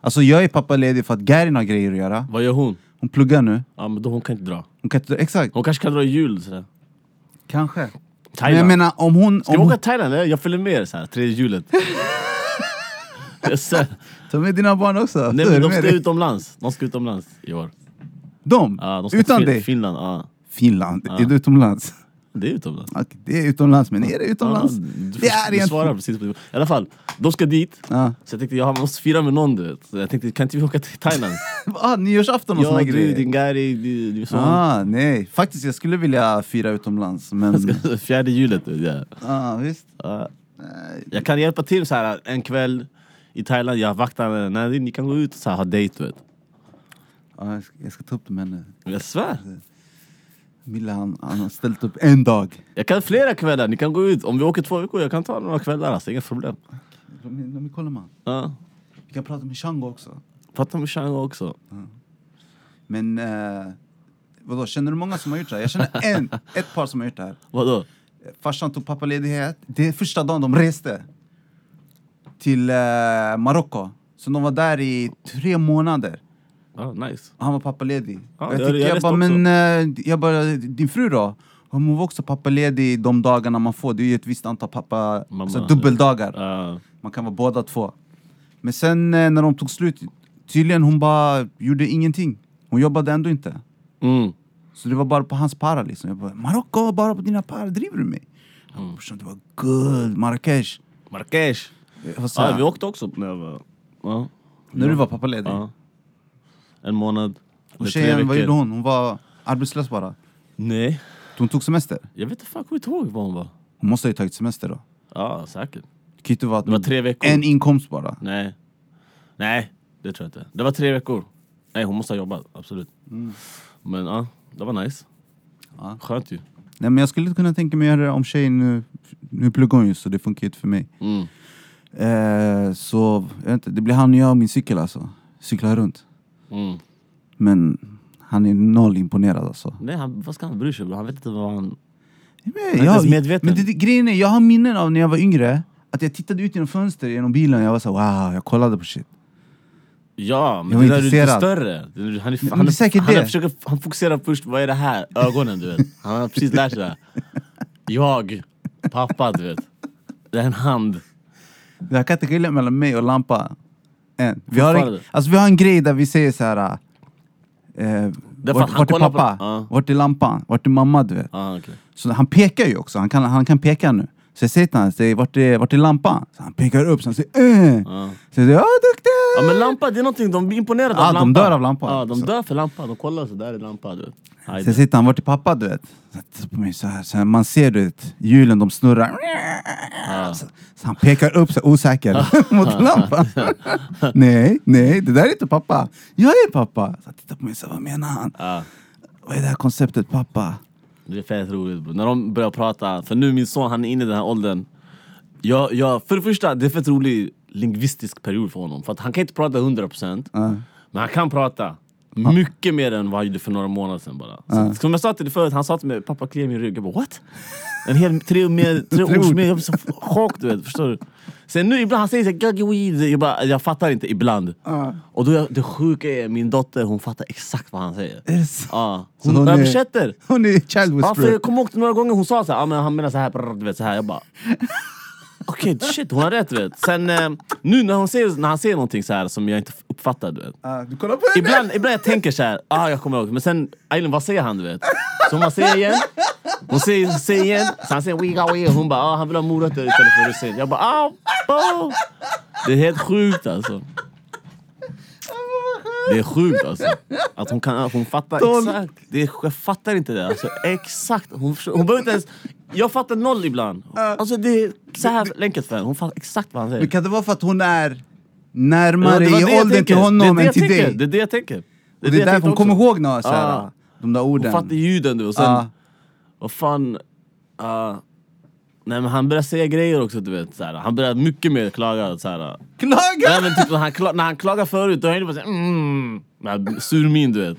S2: Alltså jag är pappaledig för att Garin har grejer att göra.
S3: Vad gör hon?
S2: Hon pluggar nu.
S3: Ja men då hon kan inte dra.
S2: Hon kan inte, exakt.
S3: Hon kanske kan dra i jul sådär.
S2: Kanske. Men jag
S3: Thailand.
S2: menar om hon...
S3: ska vi
S2: Om hon
S3: åka till Thailand? eller? Jag följer med er såhär, tredje hjulet. Jag ser.
S2: ta med dina barn också.
S3: Nej
S2: Hur är
S3: men de
S2: det
S3: ska
S2: med dig?
S3: utomlands. De ska utomlands i år.
S2: de?
S3: Ja, de ska
S2: Utan
S3: till Fin-
S2: dig?
S3: Finland, ja.
S2: Finland? Är du utomlands?
S3: Det är utomlands.
S2: Okej, det är utomlands, men är det utomlands?
S3: Ja, du,
S2: det är
S3: du svarar
S2: egentligen...
S3: precis på det. I alla fall, de ska dit.
S2: Ja.
S3: Så jag tänkte, jag måste fira med någon du vet. Så jag tänkte, kan inte vi åka till Thailand?
S2: Ah, nyårsafton och
S3: ja,
S2: såna
S3: du,
S2: grejer.
S3: din Gary, du, du, son.
S2: Ah, nej. Faktiskt, jag skulle vilja fira utomlands, men...
S3: Fjärde hjulet. du, Ja.
S2: ah, visst.
S3: Ja. Jag kan hjälpa till så här en kväll i Thailand, jag vaktar, nej, ni kan gå ut och så här, ha dejt. Vet.
S2: Ah, jag, ska, jag ska ta upp det med henne.
S3: Jag svär!
S2: Mille han, han har ställt upp en dag.
S3: Jag kan flera kvällar, ni kan gå ut. Om vi åker två veckor, jag kan ta några kvällar alltså, inga problem.
S2: Låt mig- låt mig kolla man.
S3: Ja.
S2: Vi kan prata med Shango också.
S3: Prata med Shango också.
S2: Men... Eh, vadå, känner du många som har gjort det här? Jag känner en, ett par som har gjort det här.
S3: Vadå?
S2: Farsan tog pappaledighet. Det är första dagen de reste till eh, Marocko. Så de var där i tre månader.
S3: Ja, nice.
S2: Han var pappaledig.
S3: Ja,
S2: Och
S3: det-
S2: jag, tycker,
S3: jag
S2: jag,
S3: läste
S2: bara,
S3: också.
S2: men eh, jag bara, din fru då? Hon var också pappaledig de dagarna man får. Det är ju ett visst antal pappa,
S3: Mamma,
S2: alltså dubbeldagar.
S3: Ja.
S2: Man kan vara båda två. Men sen eh, när de tog slut, tydligen hon bara gjorde ingenting. Hon jobbade ändå inte.
S3: Mm.
S2: Så det var bara på hans para liksom. Jag bara, Marocko, bara på dina para, driver du mig? Han
S3: Mm.
S2: bara, "Brorsan, det var guld, Marrakesh.
S3: Marrakesh!
S2: Jag var så
S3: Ja,
S2: här,
S3: vi åkte också när jag var... Ja.
S2: när du var pappaledig.
S3: Ja. En månad.
S2: Och
S3: eller tre
S2: tjejen, vad
S3: veckor.
S2: gjorde hon? Hon var arbetslös bara.
S3: Nej,
S2: Hon tog semester.
S3: jag vet inte, fan, jag kommer inte ihåg vad hon var.
S2: Hon måste ha ju tagit semester då.
S3: Ja, säkert.
S2: Det kan ju inte vara att
S3: Det var tre veckor.
S2: en inkomst bara.
S3: Nej. Nej, det tror jag inte. Det var tre veckor. Nej, hon måste ha jobbat, absolut. Men ja, det var nice.
S2: Ja.
S3: Skönt ju.
S2: Nej, men jag skulle kunna tänka mig att göra det om tjejen nu... Nu pluggar hon ju så det funkar ju inte för mig.
S3: Mm.
S2: Eh, så jag vet inte, det blir han och jag och min cykel alltså. Cyklar runt.
S3: Mm.
S2: Men han är noll imponerad alltså.
S3: Nej, han, vad ska han bry sig om? Han vet inte vad han...
S2: Men
S3: inte ens medveten.
S2: men det, det, grejen är, jag har minnen av när jag var yngre Att jag tittade ut genom fönstret, genom bilen och jag var så här, wow, jag kollade på shit.
S3: Ja, men
S2: Jag
S3: det
S2: var
S3: där är lite
S2: intresserad.
S3: större. Det- Han, är,
S2: Men
S3: han,
S2: det är säkert
S3: han,
S2: det.
S3: han, försöker, han fokuserar först, vad är det här? Ögonen, du vet. Han har precis lärt sig det här. Jag, pappa, du vet. Det är en hand.
S2: Jag kan inte skilja mellan mig och lampa än. Vi har, en,
S3: Fortfarande.
S2: alltså, vi har en grej där vi säger så här... Eh,
S3: för att
S2: vart,
S3: han
S2: vart är
S3: kollar på-
S2: pappa?
S3: Ja.
S2: Vart är lampan? Vart är mamma? Du vet.
S3: Ah, okay.
S2: Så han pekar ju också, han kan, han kan peka nu. Så jag säger till honom, säger, vart, är, vart är lampan? Så han pekar upp, så han säger äh. Så jag säger, åh duktig!
S3: Ja men lampa, det är någonting, de blir imponerade
S2: Ja,
S3: av
S2: de
S3: lampa.
S2: dör av lampa.
S3: Ja, de
S2: Så.
S3: dör för lampa. De kollar så där är lampa. Du. vet. Aj,
S2: Så jag
S3: det-
S2: säger till honom, vart är pappa? Du vet. Så han tittar på mig så här, så här, man ser du vet, hjulen, de snurrar. Så, så han pekar upp sig osäker mot lampan. nej, nej, det där är inte pappa. Jag är pappa. Så han tittar på mig så här, vad menar han?
S3: Ja,
S2: Vad är det här konceptet pappa?
S3: det är fett roligt bro. När de börjar prata, för nu min son han är inne i den här åldern. Jag, jag, för det första, det är fett rolig lingvistisk period för honom. För att han kan inte prata 100% men han kan prata. Mycket mer än vad han gjorde för några månader sedan bara. Så, Som jag sa till dig förut, han sa till mig pappa kliar min rygg. Jag bara what? En hel tre, mer, tre
S2: Tre
S3: års
S2: ord.
S3: mer, jag blir så chock du vet. Förstår du? Sen nu ibland han säger såhär "Gagge weed", jag, bara, jag fattar inte ibland. Och då, jag- det sjuka är min dotter hon fattar exakt vad han säger.
S2: Är det så?
S3: Ja,
S2: Så
S3: hon
S2: hon är-
S3: översätter.
S2: Hon är child
S3: Ja, för
S2: whisperer.
S3: jag kommer ihåg några gånger hon sa så här, ah, men han menar så här, brr, du vet så här. Jag bara... Okej, shit hon har rätt du vet. Sen eh, nu när, hon säger, när han säger någonting så här som jag inte uppfattar du vet.
S2: Ah, du kollar på henne!
S3: Ibland, ibland jag tänker så här, ah jag kommer ihåg. Men sen, Aylin vad säger han du vet? Så hon bara, säger igen. Hon säger, säger igen. Så han säger we got we. Hon bara, ah han vill ha morötter istället för russin. Jag bara, ah! ah." Det är helt sjukt alltså. Det är sjukt alltså. Att hon, kan, att hon fattar
S2: Tolv.
S3: exakt. Det är, jag fattar inte det. Alltså, exakt. Hon, förstår- hon behöver inte ens... Jag fattar noll ibland. Alltså, det är så här enkelt för henne. Hon fattar exakt vad han säger.
S2: Men kan det vara för att hon är
S3: Ja,
S2: närmare
S3: det var det
S2: i
S3: jag
S2: åldern
S3: tänker.
S2: till honom
S3: det är det
S2: än
S3: jag
S2: till
S3: tänker.
S2: dig?
S3: Det är det jag tänker.
S2: Det är,
S3: jag
S2: därför
S3: tänkte
S2: hon kommer
S3: också.
S2: ihåg några, så här,
S3: Ah.
S2: de där
S3: Hon
S2: orden.
S3: fattar ljuden du och sen...
S2: Ja.
S3: Vad fan... ah, nej men han börjar säga grejer också du vet. Så här, han börjar mycket mer klaga. Så här,
S2: Klaga!
S3: Nej, men typ när, han kla- när han klagar förut, då är det bara såhär mm, med sur min du vet.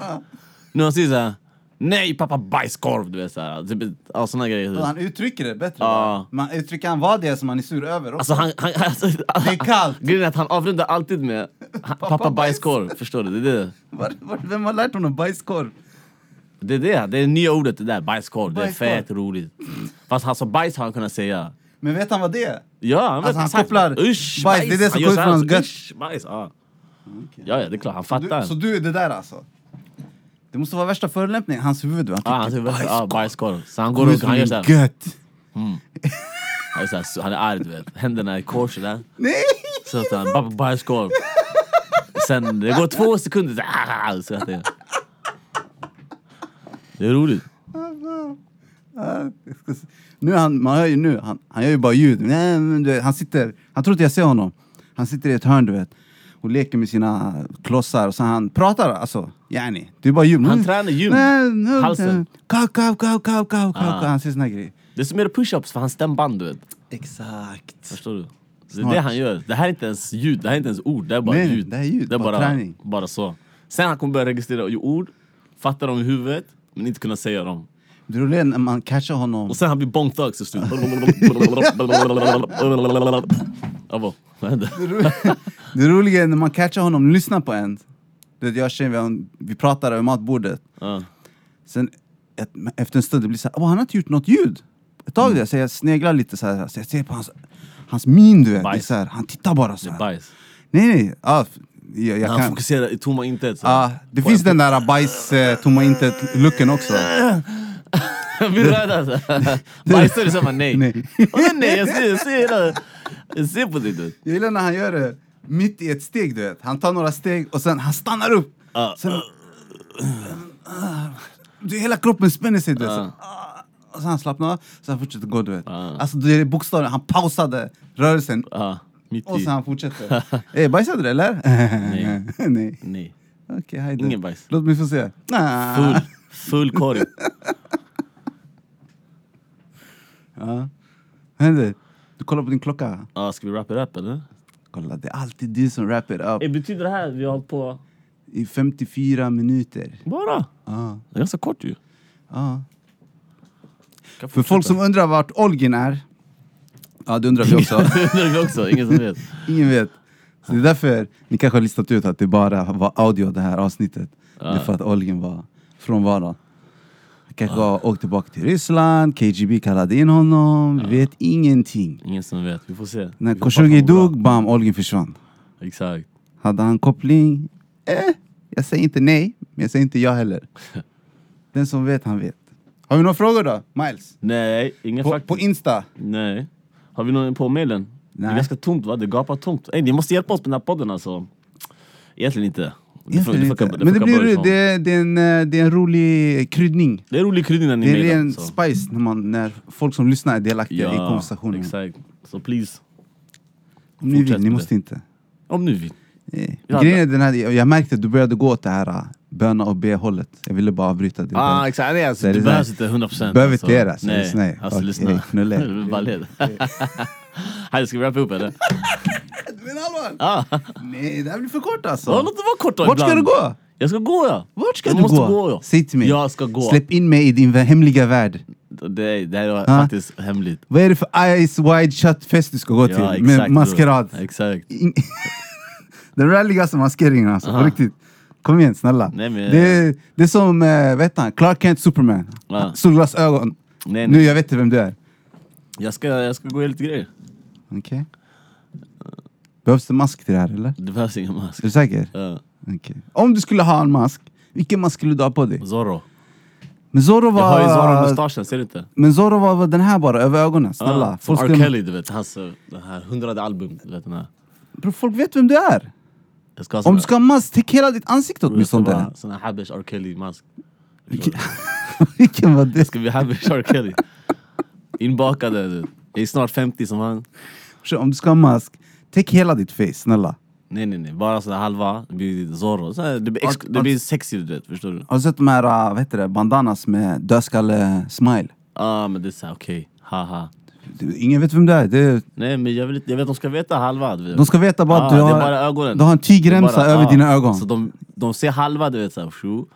S3: Nu han säger såhär, nej pappa bajskorv du vet såhär. Typ, ja, såna grejer. du vet.
S2: Han uttrycker det bättre.
S3: Ja.
S2: bara. Man uttrycker han vad det är som man är sur över också.
S3: Alltså han, han, alltså,
S2: Det är kallt.
S3: Grejen är att han avrundar alltid med "Ha- pappa bajskorv, förstår du? Det är det.
S2: Var, var, vem har lärt honom bajskorv?
S3: Det är det, det är det nya ordet det där, bajskorv. Det är
S2: Bajskorv.
S3: fett roligt. Fast han sa bajs har han kunnat säga.
S2: Men vet han vad det är?
S3: Ja, han vet
S2: Alltså, han
S3: exakt.
S2: kopplar
S3: Usch,
S2: bajs, det är det som
S3: Han gör
S2: kommer
S3: så här
S2: från hans
S3: också.
S2: gutt.
S3: Usch, bajs, ja. ja. Ja, det är klart. Han
S2: Du,
S3: fattar.
S2: så du är det där alltså? Det måste vara värsta förolämpningen, hans huvud. va?
S3: ah,
S2: Han
S3: han
S2: tycker
S3: säger bajskorv. Ah, bajskorv. Så han går
S2: kommer
S3: runt
S2: ut
S3: och han gör
S2: ur
S3: såhär.
S2: min gött.
S3: Han är, så här, så- han är arg du vet, händerna i kors där.
S2: Nej!
S3: Så att han bara bajskorv. Sen det går två sekunder, så, här, ah, så att det, det är roligt.
S2: Nu är han, man hör ju nu, han, han gör ju bara ljud. Nej, men du vet, han sitter, han tror inte jag ser honom. Han sitter i ett hörn du vet. Och leker med sina klossar och så han pratar alltså, yani. Det är bara ljud.
S3: Han
S2: Mm.
S3: tränar ljud.
S2: Nej, nej,
S3: Halsen.
S2: Kau, kau, kau, kau, kau, kau.
S3: Ah.
S2: Han säger såna här grejer.
S3: Det är som är push-ups för hans stämband du vet.
S2: Exakt.
S3: Förstår du? Det är
S2: Snart.
S3: det han gör. Det här är inte ens ljud, det här är inte ens ord. Det här är bara
S2: Nej,
S3: ljud.
S2: det här är ljud,
S3: Det är
S2: bara
S3: bara,
S2: träning.
S3: bara så. Sen han kommer börja registrera ju ord, fatta dem i huvudet, men inte kunna säga dem.
S2: Det roliga är när man catchar honom.
S3: Och sen han blir Bong Thugs till slut. Jag bara, vad händer?
S2: Det roliga är när man catchar honom och lyssnar på en. Du vet, jag och tjejen, vi, har- vi pratar över matbordet.
S3: Ja.
S2: Sen ett, efter en stund, det blir så här, "Åh, han har inte gjort något ljud. Ett tag där, så jag sneglar lite så här, så jag ser på hans, hans min du vet. Det är
S3: Bajs.
S2: så här, han tittar bara så
S3: Det är
S2: här.
S3: bajs.
S2: Nej, nej. Ja, f- jag, jag
S3: Han
S2: kan, Ah.
S3: fokuserar i tomma intet. så.
S2: ja, det finns den där bajs, eh, tomma intet-looken också.
S3: Jag blir röd alltså. Bajsar du så bara nej.
S2: Nej.
S3: Åh, nej, jag ser, jag ser, hela- jag ser på dig du.
S2: Jag gillar när han gör det mitt i ett steg, du vet. Han tar några steg och sen han stannar upp.
S3: Ja.
S2: Sen, du, hela kroppen spänner sig,
S3: Ah.
S2: du vet. Så- Och sen han slappnar av, sen han fortsätter gå, du vet.
S3: Ja.
S2: Alltså det är bokstavligen, han pausade rörelsen
S3: Ja, Ah, mitt
S2: och
S3: i.
S2: sen han fortsätter. Ey, bajsade du eller? Nej. Nej.
S3: Nej.
S2: Okej, hej då.
S3: Ingen bajs.
S2: Låt mig få se. Ah.
S3: Full, full korg.
S2: Vad händer? Du kollar på din klocka.
S3: Ja, Ah, ska vi wrap it up eller?
S2: Kolla, det är alltid du som wrap it up.
S3: Eh, Betyder det här att vi har hållit på
S2: I 54 minuter.
S3: bara?
S2: Ah.
S3: Det är ganska kort ju.
S2: Ah. För
S3: Kan fortsätta.
S2: folk som undrar vart Olgin är Ja, det undrar vi också.
S3: Det undrar vi också, ingen som vet.
S2: Ingen vet. Så det är därför ni kanske har listat ut att det bara var audio det här avsnittet. Det är för att Olgin var frånvarande. Han kanske har åkt tillbaka till Ryssland, KGB kallade in honom, vi vet ingenting.
S3: Ingen som vet, vi får se.
S2: När
S3: Vi hoppas att
S2: Khashoggi
S3: det går bra.
S2: dog, bam, Olgin försvann.
S3: Exakt.
S2: Hade han koppling? Eh, jag säger inte nej, men jag säger inte ja heller. Den som vet, han vet. Har vi några frågor då? Miles?
S3: Nej, inga
S2: På,
S3: fakta.
S2: på Insta?
S3: Nej. Har vi någon på mailen? Det
S2: Nej.
S3: är ganska tomt va? Det gapar tomt. Ey, ni måste hjälpa oss med den här podden alltså. Egentligen inte. Det får-
S2: Egentligen
S3: det får-
S2: inte.
S3: det
S2: Men det,
S3: får
S2: blir,
S3: börja
S2: det, är- det, är en, eh, det är en rolig kryddning.
S3: Det är rolig kryddning när ni
S2: Det är
S3: mailar.
S2: en
S3: så.
S2: spice när, man, när folk som lyssnar är delaktiga i konversationen.
S3: Exakt. Så please,
S2: Om ni vill,
S3: Fortsätt
S2: ni
S3: med
S2: måste
S3: det.
S2: inte.
S3: om ni vill.
S2: Eh,
S3: Ja,
S2: Grejen är den här, jag jag märkte att du började gå åt det här eh, böna och be-hållet. Jag ville bara avbryta det.
S3: Ah, exakt. Nej, alltså,
S2: Det är
S3: det,
S2: det
S3: behövs
S2: där.
S3: inte 100 procent.
S2: Behöver inte göra, så
S3: Nej,
S2: lyssna.
S3: alltså
S2: Okej,
S3: lyssna.
S2: knulla.
S3: Det är bara led. Hej, ska vi wrappa upp eller?
S2: Men allvar!
S3: Ah.
S2: Nej, det här blir för kort alltså.
S3: Ja, låt det vara kort då
S2: Vart ska
S3: ibland.
S2: du gå?
S3: Jag ska gå ja.
S2: Vart ska
S3: jag
S2: du
S3: måste
S2: gå?
S3: gå ja.
S2: Säg till mig.
S3: Jag ska gå.
S2: Släpp in mig i din vä- hemliga värld.
S3: Det, det här var
S2: Ah.
S3: faktiskt hemligt.
S2: Vad är det för eyes wide shut fest du ska gå
S3: Ja,
S2: till? Med
S3: exakt,
S2: maskerad.
S3: bror. Exakt.
S2: In- Den ralligaste maskeringen alltså, på riktigt. Kom igen snälla.
S3: Nej, men-
S2: Det, är, det är som, eh, vet han, Clark Kent Superman.
S3: Ja.
S2: Solglasögon.
S3: Nej,
S2: Nu
S3: nej.
S2: jag vet inte vem du är.
S3: Jag ska, jag ska gå och göra lite grejer.
S2: Okej. Behövs det mask till det här eller? Är
S3: Det behövs ingen mask.
S2: du säker?
S3: Ja.
S2: Okej. Om du skulle ha en mask, vilken mask skulle du ha på dig?
S3: Zorro.
S2: Men Zorro
S3: Jag
S2: var...
S3: har ju Zorro-mustaschen, ser du inte?
S2: men Zorro var var den här bara, över ögonen. Snälla.
S3: Ah,
S2: folk,
S3: R.
S2: skulle-
S3: Kelly, du vet. Hans eh, den här hundrade album. Du vet, den här.
S2: Bro, folk vet vem du är.
S3: Jag ska ha sån
S2: Om du
S3: här-
S2: ska ha mask, täck hela ditt ansikte
S3: Bror, jag ska
S2: åtminstone.
S3: vara Sån här Habesh R. Kelly-mask.
S2: vilken var det?
S3: Ska vi ha Habesh R. Kelly? Inbakade. du vet. Jag är snart 50 som han.
S2: Bror, Om du ska ha mask, täck hela ditt face, snälla.
S3: Nej nej nej, bara sådär halva. Det blir Zorro. Så här, det, blir ex-
S2: Att-
S3: det
S2: att-
S3: blir sexy du vet, förstår du?
S2: Har du sett de här, äh, vad heter det, bandanas med dödskalle-smile?
S3: Ah men det är såhär okej, haha.
S2: Du, Ingen vet vem det är. Det,
S3: Nej men jag vill, inte- jag vet att de ska veta halva. Du vet.
S2: de ska veta bara
S3: Ah,
S2: att du
S3: det
S2: har,
S3: är bara ögonen.
S2: du har en
S3: Det
S2: tygremsa
S3: är bara-
S2: över
S3: ah,
S2: dina ögon.
S3: Så de, de ser halva du vet såhär, tjo.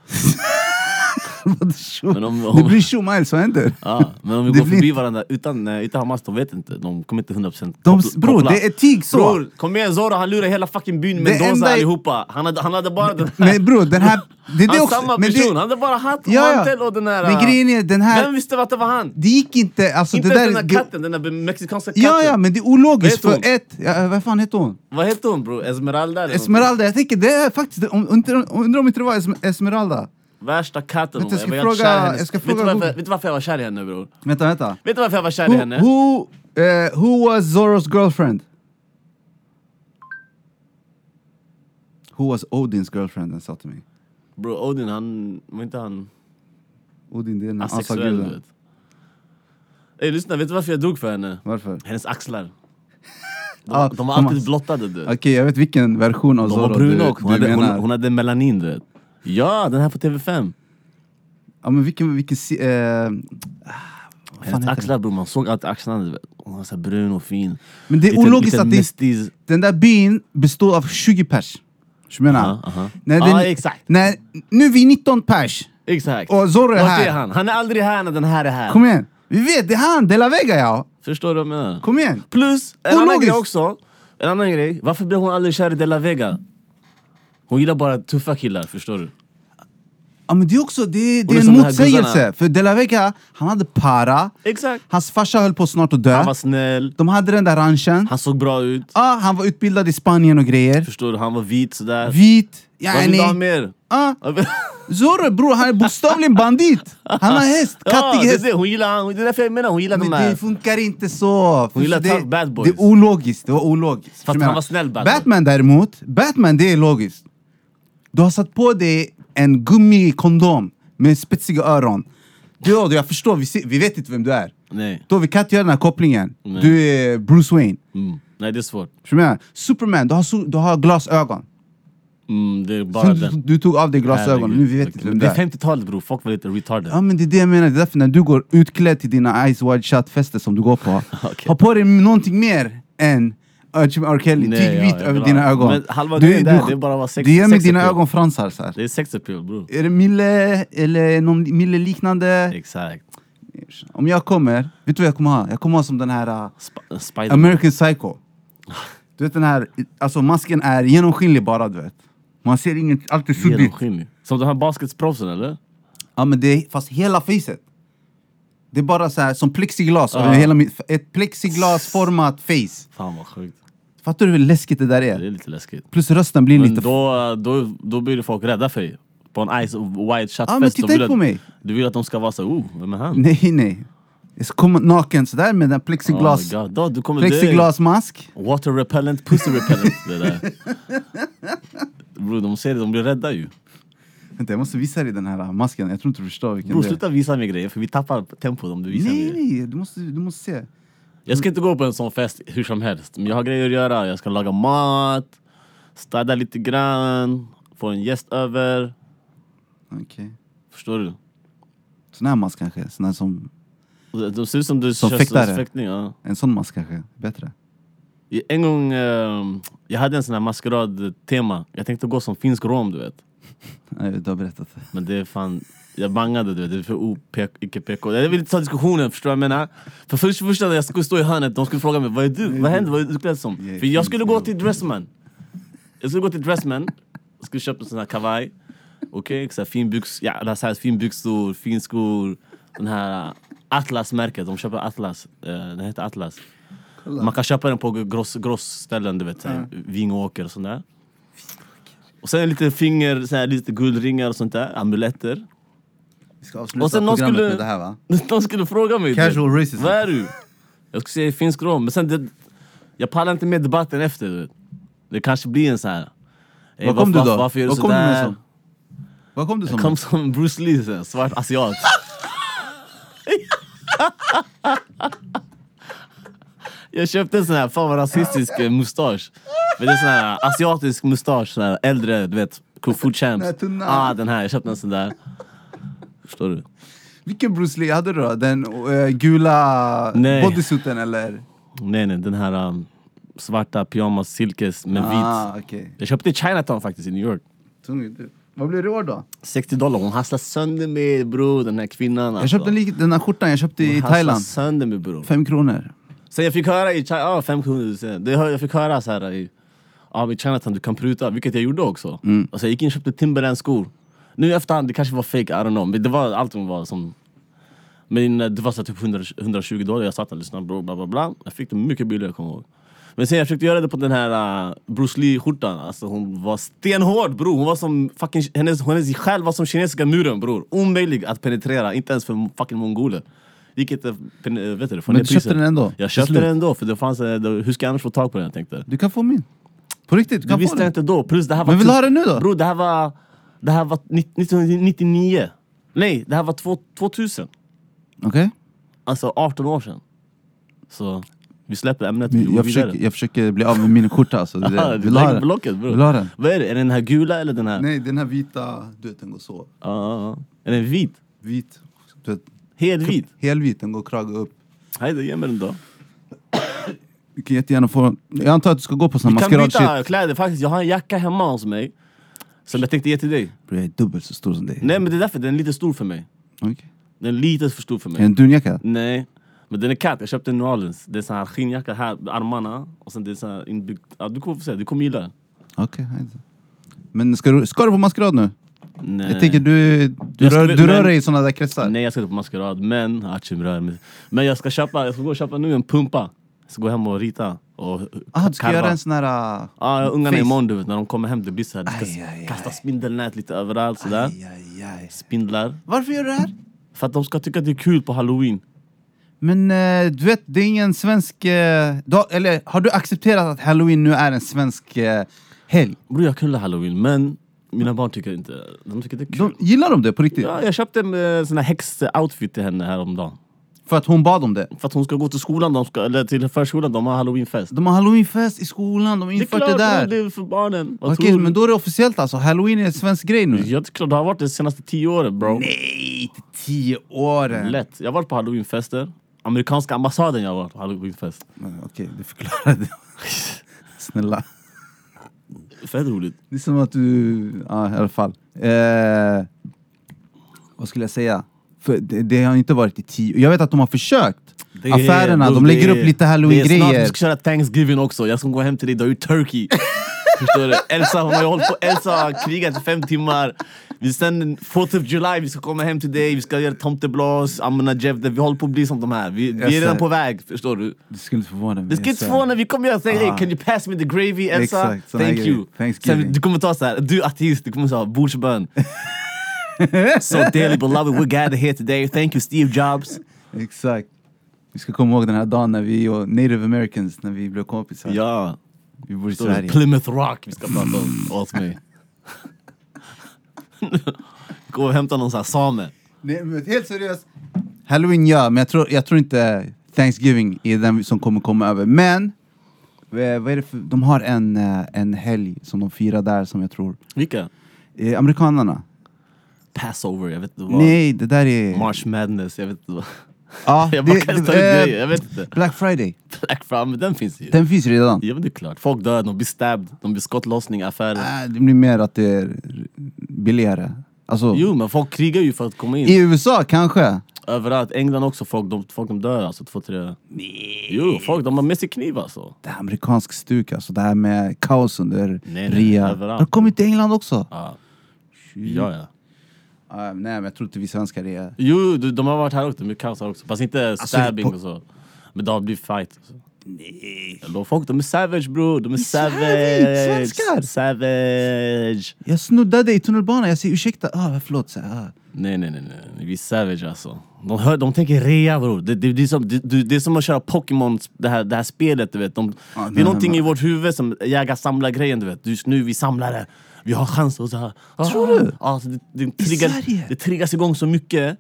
S3: Men om-
S2: det blir tjo miles, vad händer?
S3: Ah, men om vi
S2: Det
S3: går
S2: blir
S3: förbi
S2: inte-
S3: varandra utan, eh, utan Hamas, de vet inte. De kommer inte 100%
S2: De,
S3: koppla-
S2: bror,
S3: koppla.
S2: det är tyg så!
S3: Bror, kom igen Zorro, han lurar hela fucking byn
S2: Det
S3: Mendoza
S2: enda-
S3: allihopa. Han hade, han hade bara den här...
S2: Men bror, den här... Det är
S3: han
S2: det också,
S3: samma
S2: men det-
S3: person, han hade bara hatt,
S2: Ja, ja.
S3: mantel och den här...
S2: Men grejen är, den här...
S3: Vem visste att det var han?
S2: Det gick inte, alltså
S3: Inte
S2: det där...
S3: ens den
S2: det-
S3: där katten, den där mexikanska katten.
S2: Ja, ja, men det är ologiskt.
S3: Vad
S2: För
S3: heter
S2: ett, ja, vad fan heter hon?
S3: Vad heter hon bror? Esmeralda? eller någonting?
S2: Esmeralda, jag tänker det är faktiskt... Om, undrar undrar om inte det var Esme- Esmeralda?
S3: Värsta katten hon
S2: Vänta, jag ska
S3: var. helt
S2: fråga-
S3: kär i hennes-
S2: jag ska
S3: vet,
S2: fråga
S3: du varför,
S2: Google.
S3: vet du varför jag var kär i henne bror?
S2: Vänta, vänta.
S3: Vet du varför jag var kär i
S2: Who,
S3: henne?
S2: who, eh, who was Zorros girlfriend? Who was Odins girlfriend? Den sa till mig.
S3: Bror Odin han, var inte han
S2: Odin, det är den här
S3: asexuell du
S2: asaguden.
S3: vet? Ey lyssna, vet du varför jag dog för henne?
S2: Varför?
S3: Hennes axlar. De,
S2: Ah,
S3: de var
S2: de
S3: alltid
S2: har-
S3: blottade du.
S2: Okej, jag vet vilken version av
S3: De
S2: Zorro
S3: var bruna och
S2: du,
S3: hon,
S2: du
S3: hade, hon,
S2: menar.
S3: hon hade melanin du vet. Ja, den här på TV5.
S2: Ja, men vilken... vilken si- eh, vad fan
S3: Hennes
S2: heter den?
S3: axlar bror, man såg alltid axlarna du vet. Hon var så här brun och fin.
S2: Men det är
S3: Liten-
S2: ologiskt
S3: liten
S2: att det-
S3: mestis-
S2: den där byn består av 20 pers. Förstår du vad jag menar?
S3: Aha, aha.
S2: När
S3: Ja,
S2: den-
S3: exakt.
S2: När, nu är vi 19 pers.
S3: Exakt.
S2: Och Zorro är
S3: Vart
S2: här.
S3: Är han? han är aldrig här när den här är här.
S2: Kom igen! Vi vet, det är han! De la Vega ja!
S3: Förstår du vad jag menar?
S2: Kom igen!
S3: Plus, en annan
S2: Ologiskt.
S3: grej också. En annan grej. Varför blev hon aldrig kär i De La Vega? Hon gillar bara tuffa killar, förstår du?
S2: Ja men det är också, det,
S3: Och
S2: det
S3: det
S2: är
S3: är
S2: en
S3: som de här
S2: motsägelse.
S3: guzzarna.
S2: För De La Vega, han hade para.
S3: Exakt.
S2: Hans farsa höll på snart att dö.
S3: Han var snäll,
S2: De hade den där ranchen.
S3: han såg bra ut.
S2: Ja, han var utbildad i Spanien och grejer.
S3: Förstår du? Han var vit sådär.
S2: Vit.
S3: Vad vill du ha
S2: Yani.
S3: mer?
S2: Ja,
S3: Ja, men-
S2: Zorro bror, han är bokstavligen bandit. Han har häst,
S3: ja,
S2: kattig
S3: det, är
S2: häst.
S3: det. Hon gillar han. Det är därför jag menar hon gillar
S2: Men
S3: de
S2: det
S3: här.
S2: funkar inte så! För
S3: gillar
S2: det-
S3: tough bad boys.
S2: Det är ologiskt, det var ologiskt.
S3: Fast
S2: Jag
S3: han
S2: menar,
S3: var snäll bad boy.
S2: Batman däremot, Batman det är logiskt. Du har satt på dig en gummikondom med spetsiga öron. Du, ja, du, jag förstår, vi, ser, vi vet inte vem du är.
S3: Nej.
S2: Då vi kan inte göra den här kopplingen.
S3: Nej.
S2: Du är Bruce Wayne.
S3: Mm. Nej, det är svårt.
S2: Förstår du vad jag menar? Superman, du har, so- du har glasögon.
S3: Mm, det är bara
S2: Sen du,
S3: den.
S2: du tog av dig glasögonen,
S3: Herregud.
S2: nu vi vet inte vem
S3: Det
S2: du
S3: är
S2: är.
S3: 50-talet bror, folk var lite retarded.
S2: Ja men det är det jag menar, det är därför när du går utklädd till dina Ice Wide Shut-fester som du går på,
S3: Okej.
S2: ha på dig någonting mer än uh, Jimmy R. Kelly,
S3: Nej,
S2: tyg
S3: ja,
S2: vit
S3: jag
S2: över
S3: vill
S2: dina
S3: ha-
S2: ögon.
S3: men halva grejen där, det är bara att vara sex-
S2: Du gör med
S3: sexy
S2: dina
S3: på.
S2: ögonfransar så här.
S3: Det är sex appeal bror.
S2: Är det Mille eller någon Mille-liknande?
S3: Exakt.
S2: Om jag kommer, vet du vad jag kommer ha? Jag kommer ha som den här uh,
S3: Sp- eh, Spider-Man.
S2: American Psycho. Du vet den här, alltså masken är genomskinlig bara du vet. Man ser inget, allt är suddigt.
S3: Genomskinlig. Som de här basketsproffsen eller?
S2: Ja men det är, fast hela facet. Det är bara så här som plexiglas, över
S3: Ja.
S2: hela mitt, ett plexiglasformat face.
S3: Fan vad sjukt.
S2: Fattar du hur läskigt det där
S3: Det
S2: är?
S3: är lite läskigt.
S2: Plus rösten blir
S3: Men
S2: lite...
S3: då, då, då blir folk rädda för dig. På en ice white shot
S2: Ja, men
S3: fest.
S2: titta
S3: de vill
S2: på
S3: att-
S2: mig.
S3: Du vill att de ska vara så oh, vem är han?
S2: Nej nej. Jag ska komma naken sådär med den plexiglas,
S3: Oh my God. Då, du kommer dö.
S2: plexiglasmask.
S3: Water repellent, pussy repellent. det där. Bro, de ser det, de blir rädda ju.
S2: Vänta jag måste visa dig den här äh, masken, jag tror inte du förstår vilken
S3: Bro,
S2: det är.
S3: sluta visa mig grejer för vi tappar tempo om du visar mig.
S2: Nej
S3: grejer.
S2: nej, du måste, du måste se.
S3: Jag ska inte gå på en sån fest hur som helst. Men jag har grejer att göra. Jag ska laga mat, städa lite grann, få en gäst över.
S2: Okej.
S3: Förstår du?
S2: Sån här mask kanske, sån här som...
S3: De ser ut som du
S2: Som
S3: kör
S2: fäktare.
S3: fäktning. Ja.
S2: En sån mask kanske, bättre.
S3: I- En gång, ehm, jag hade en sån här maskerad-tema. Jag tänkte gå som finsk rom, du vet.
S2: Nej, du har berättat.
S3: Men det är fan, jag bangade du vet, det är för OP, icke PK. Jag vill inte ta diskussionen, förstår du vad jag menar? För först först när jag skulle stå i hörnet, de skulle fråga mig vad är du? Vad händer? Vad är du klädd som?
S2: Jag är
S3: För jag
S2: finsk
S3: skulle gå
S2: rom.
S3: till Dressman. Jag skulle gå till Dressman, jag skulle köpa en sån här kavaj. Okej, okay, fin byx, ja, eller så här, fin byxor, fin skor. Den här Atlas-märket, de köper Atlas. Eh, den heter Atlas. Man kan köpa den på gross, gross ställen, du vet. så här, Vingåker och sånt där. Och sen lite finger, så här, lite guldringar och sånt där, amuletter.
S2: Vi ska avsluta
S3: Och sen någon
S2: programmet
S3: skulle-
S2: med det här va?
S3: De skulle fråga mig.
S2: Casual
S3: du vet.
S2: racism.
S3: Vad är du? Jag skulle säga finsk rom, men sen det, jag pallar inte med debatten efter. du vet. Det kanske blir en sån här... "Ey,
S2: Vad kom du
S3: varför-
S2: då?
S3: Eh, Varför gör du
S2: Vad kom du med
S3: sådär?
S2: som? Vad kom du som?
S3: Jag kom som Bruce Lee, så här, svart asiat. jag köpte en sån här, fan vad rasistisk eh, mustasch. Men det är sån här asiatisk mustasch, sån här äldre, du vet, kung fu champs.
S2: Den här tunna.
S3: Ah, den här, jag köpte en sån där. Förstår du?
S2: Vilken Bruce Lee hade du då? Den eh, gula
S3: Nej.
S2: bodysuiten eller?
S3: Nej, nej, den här um, svarta pyjamas, silkes med vit.
S2: Ah, okej.
S3: Jag köpte i Chinatown faktiskt i New York.
S2: Tung du. Vad blir det i år då?
S3: 60 dollar, hon hastlar sönder mig bror, den här kvinnan.
S2: Jag köpte en lik- den här skjortan jag köpte i
S3: Hon hustlar
S2: Thailand.
S3: sönder mig bror.
S2: Fem kronor.
S3: Sen jag fick höra i ah, China, ja 500 sen. Det, hör- jag fick höra så här i, ja i Chinatown du kan pruta, vilket jag gjorde också.
S2: Mm.
S3: Alltså jag gick in och köpte Timberland skor. Nu i efterhand, det kanske var fake, I don't know. Men det var, allting var som... Men eh, det var så här typ 100, 120 dollar, jag satt och lyssnade bro, bla bla bla. Jag fick det mycket billigare kommer jag ihåg. Men sen jag försökte göra det på den här eh, Bruce Lee-skjortan, alltså hon var stenhård bror! Hon var som fucking, hennes, hennes själ var som kinesiska muren bror! Omöjlig att penetrera, inte ens för fucking mongoler. Gick inte, pen- eh, vet du, för
S2: Men
S3: det
S2: du köpte
S3: priset.
S2: den ändå,
S3: Jag
S2: till
S3: köpte
S2: slut.
S3: den ändå, för det fanns, eh, det- hur ska jag annars få tag på den jag tänkte?
S2: Du kan få min. På riktigt, du
S3: Du
S2: kan få
S3: visste
S2: den.
S3: inte då, plus det här var...
S2: Men vill du
S3: tus-
S2: ha den nu då?
S3: Bror, det här var... Det här var nitt- 1999. Nej, det här var två- 2000.
S2: Okej?
S3: Alltså 18 år sedan. Så vi släpper ämnet, vi går
S2: Jag,
S3: vidare.
S2: försöker, jag försöker bli av med min skjorta alltså. Det är
S3: Ah,
S2: det.
S3: du
S2: Vill du ha
S3: lägger
S2: den?
S3: blocket bror.
S2: Vill du ha den?
S3: Vad är det? Är det den här gula eller den här?
S2: Nej, den här vita, du vet den går så.
S3: Ja, ja, ja. Är den vit?
S2: Vit. Du vet,
S3: Helvit?
S2: helvit, den går krage upp.
S3: Hej då, ge mig den då.
S2: Du kan jättegärna få Jag antar att du ska typ- gå på sån här
S3: Vi kan
S2: maskerad shit.
S3: byta kläder faktiskt. Jag har en jacka hemma hos mig. Som jag tänkte ge till dig.
S2: Bro, jag är dubbelt så stor som dig.
S3: Nej men det är därför, den är lite stor för mig.
S2: Okej.
S3: Den är lite för stor för mig.
S2: Är det en dunjacka?
S3: Nej, men den är katt. Jag köpte den i New Orleans. Det är sån här skinnjacka här, armarna. Och sen det är sån här inbyggt... Ja, du kommer få se, du kommer gilla den.
S2: Okej, okay, Men ska du, ska du på maskerad nu?
S3: Nej.
S2: Jag tänker du, du,
S3: Jag
S2: rör,
S3: skulle-
S2: du rör
S3: men-
S2: dig i såna där kretsar.
S3: Nej, jag ska inte på maskerad. Men, Achim rör mig. Men jag ska köpa, jag ska gå och köpa nu en pumpa. Jag ska gå hem och rita och
S2: Aha, Ah, du ska
S3: karva. Ah,
S2: göra en sån här... Uh,
S3: Ja, ungarna
S2: face.
S3: imorgon du vet, när de kommer hem det blir såhär, du
S2: Aj,
S3: ska
S2: aj, aj.
S3: kasta spindelnät lite överallt sådär.
S2: Aj, aj, aj.
S3: Spindlar.
S2: Varför gör du det här?
S3: För att de ska tycka det är kul på halloween.
S2: Men eh, du vet, det är ingen svensk... eh, dag, eller har du accepterat att halloween nu är en svensk uh, helg?
S3: Bror jag kunde halloween men mina barn tycker inte, de tycker det är kul.
S2: De, gillar de det på riktigt?
S3: Ja, jag köpte en eh, sån här häx-outfit till henne häromdagen.
S2: För att hon bad om det?
S3: För att hon ska gå till skolan, de ska, eller till förskolan, de har halloweenfest.
S2: De har halloweenfest i skolan, de har infört det, där.
S3: det är för barnen. Vad
S2: Okej,
S3: tror du?
S2: men då är det officiellt alltså. Halloween är en svensk grej nu.
S3: Jag tycker det har varit det senaste tio åren bro.
S2: Nej, till tio åren!
S3: Lätt. Jag har varit på halloweenfester. Amerikanska ambassaden jag har varit på halloweenfest.
S2: Men Okej, du förklarade. Snälla.
S3: Fett roligt.
S2: Det är som att du... Ja, i alla fall. Eh, vad skulle jag säga? För det, det har inte varit i tio Jag vet att de har försökt.
S3: Det är-
S2: Affärerna,
S3: bro,
S2: de lägger
S3: det är-
S2: upp lite
S3: Det är snart vi
S2: halloween-grejer.
S3: ska köra Thanksgiving också. Jag ska gå hem till dig, du har gjort turkey. Förstår du? Elsa hon har ju hållit på, Elsa har krigat i fem timmar. Vi sen 4th of July, vi ska komma hem till dig, vi ska göra tomteblas, använda Jeff, vi håller på att bli som de här. Vi, vi är
S2: Exakt.
S3: redan på väg, förstår du?
S2: Det skulle inte förvåna mig.
S3: Det ska inte
S2: så här.
S3: förvåna, vi kommer göra såhär, hey,
S2: Ah.
S3: can you pass me the gravy Elsa?
S2: Exakt, såna
S3: Thank
S2: grejer.
S3: you.
S2: Thanksgiving.
S3: Sen, du kommer ta såhär, du är ateist, du kommer säga bordsbön. so dearly beloved, we're gathered here today. Thank you Steve Jobs.
S2: Exakt. Vi ska komma ihåg den här dagen när vi och native americans, när vi blev kompisar.
S3: Ja.
S2: Vi bor i
S3: Då är det
S2: Sverige.
S3: Plymouth Rock vi ska prata om, åt mig. Gå och hämta någon sån här same.
S2: Nej, men helt seriöst. Halloween ja, men jag tror, jag tror inte Thanksgiving är den som kommer komma över. Men, eh, vad är det för, de har en, eh, en helg som de firar där som jag tror...
S3: Vilka?
S2: Eh, amerikanerna.
S3: Passover, jag vet inte vad.
S2: Nej, det där är...
S3: March Madness, jag vet inte vad.
S2: Ja,
S3: Jag bara kastar ut
S2: eh,
S3: grejer, jag vet inte.
S2: Black Friday.
S3: Black Friday, men den finns ju.
S2: Den finns redan.
S3: Ja men det är klart, folk dör, de blir stabbed, de blir skottlossning, affärer.
S2: Äh, Det blir mer att det är billigare. Alltså,
S3: Jo men folk krigar ju för att komma in.
S2: i USA kanske.
S3: Överallt, England också, folk de, folk, de dör alltså. Två, tre... Nej. Jo, folk de har med sig kniv alltså.
S2: Det är amerikansk stuk alltså, det här med kaos under
S3: nej,
S2: rea. Det
S3: överallt.
S2: har kommit till England också.
S3: Ja. Ja, ja.
S2: Ah, nej, men jag tror inte vi svenskar är...
S3: Jo, de, de har varit här också, mycket kaos här också. Fast inte stabbing
S2: Alltså, på-
S3: och så. Men det har blivit fight. Alltså. Nej. folk de är savage bro, de är savage.
S2: savage, svenskar.
S3: Savage.
S2: Jag snuddade i tunnelbanan, jag säger ursäkta, ah, förlåt. Så, här, ah.
S3: Nej, nej, nej, nej. Vi är savage alltså. De, hör, de tänker rea bror. Det, det, det, är som, det, det det är som att köra Pokémon, det här, det här spelet du vet. De, det
S2: nej,
S3: är någonting
S2: nej.
S3: i vårt huvud som jägar-samlar-grejen du vet. Just nu vi samlare, vi har chans och så här.
S2: Tror du?
S3: Ja, så det, det, triggar,
S2: Sverige?
S3: det triggas igång så mycket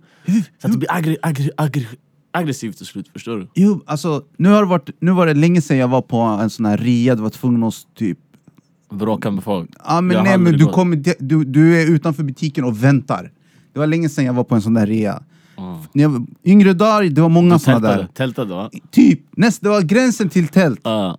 S3: så att det blir aggre, aggre, aggre, aggressivt till slut, förstår du?
S2: Jo, alltså, nu, har det varit, nu var det länge sedan jag var på en sån här rea, det var tvungen att typ...
S3: Bråka med folk.
S2: Ja, men
S3: Jag har
S2: nej, men
S3: aldrig
S2: du,
S3: gått.
S2: kommer, di- du, du är utanför butiken och väntar. Det var länge sedan jag var på en sån där rea. När jag var yngre dagar, det var många såna
S3: Ah. Tältade,
S2: där.
S3: tältade va?
S2: Typ, näst, det var gränsen till tält.
S3: Ja.
S2: Eh,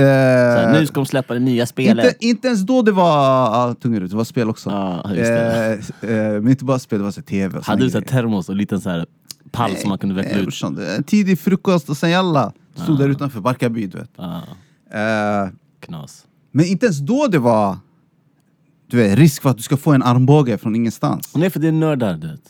S3: Så här, nu ska de släppa det nya spelet.
S2: Inte, inte ens då det var ah, tungrut, det var spel också.
S3: Ja, Ah, just det.
S2: eh, eh, men inte bara spel, det var så här tv och såna
S3: Hade du så här
S2: grejer.
S3: termos och en liten så här pall som man kunde veckla
S2: Nej,
S3: ut?
S2: brorsan, det- Tidig frukost och sen jalla. Stod där utanför Barkarby, du vet.
S3: Ja,
S2: Eh,
S3: knas.
S2: men inte ens då det var du vet, risk för att du ska få en armbåge från ingenstans.
S3: Nej, för det är nördar. du vet.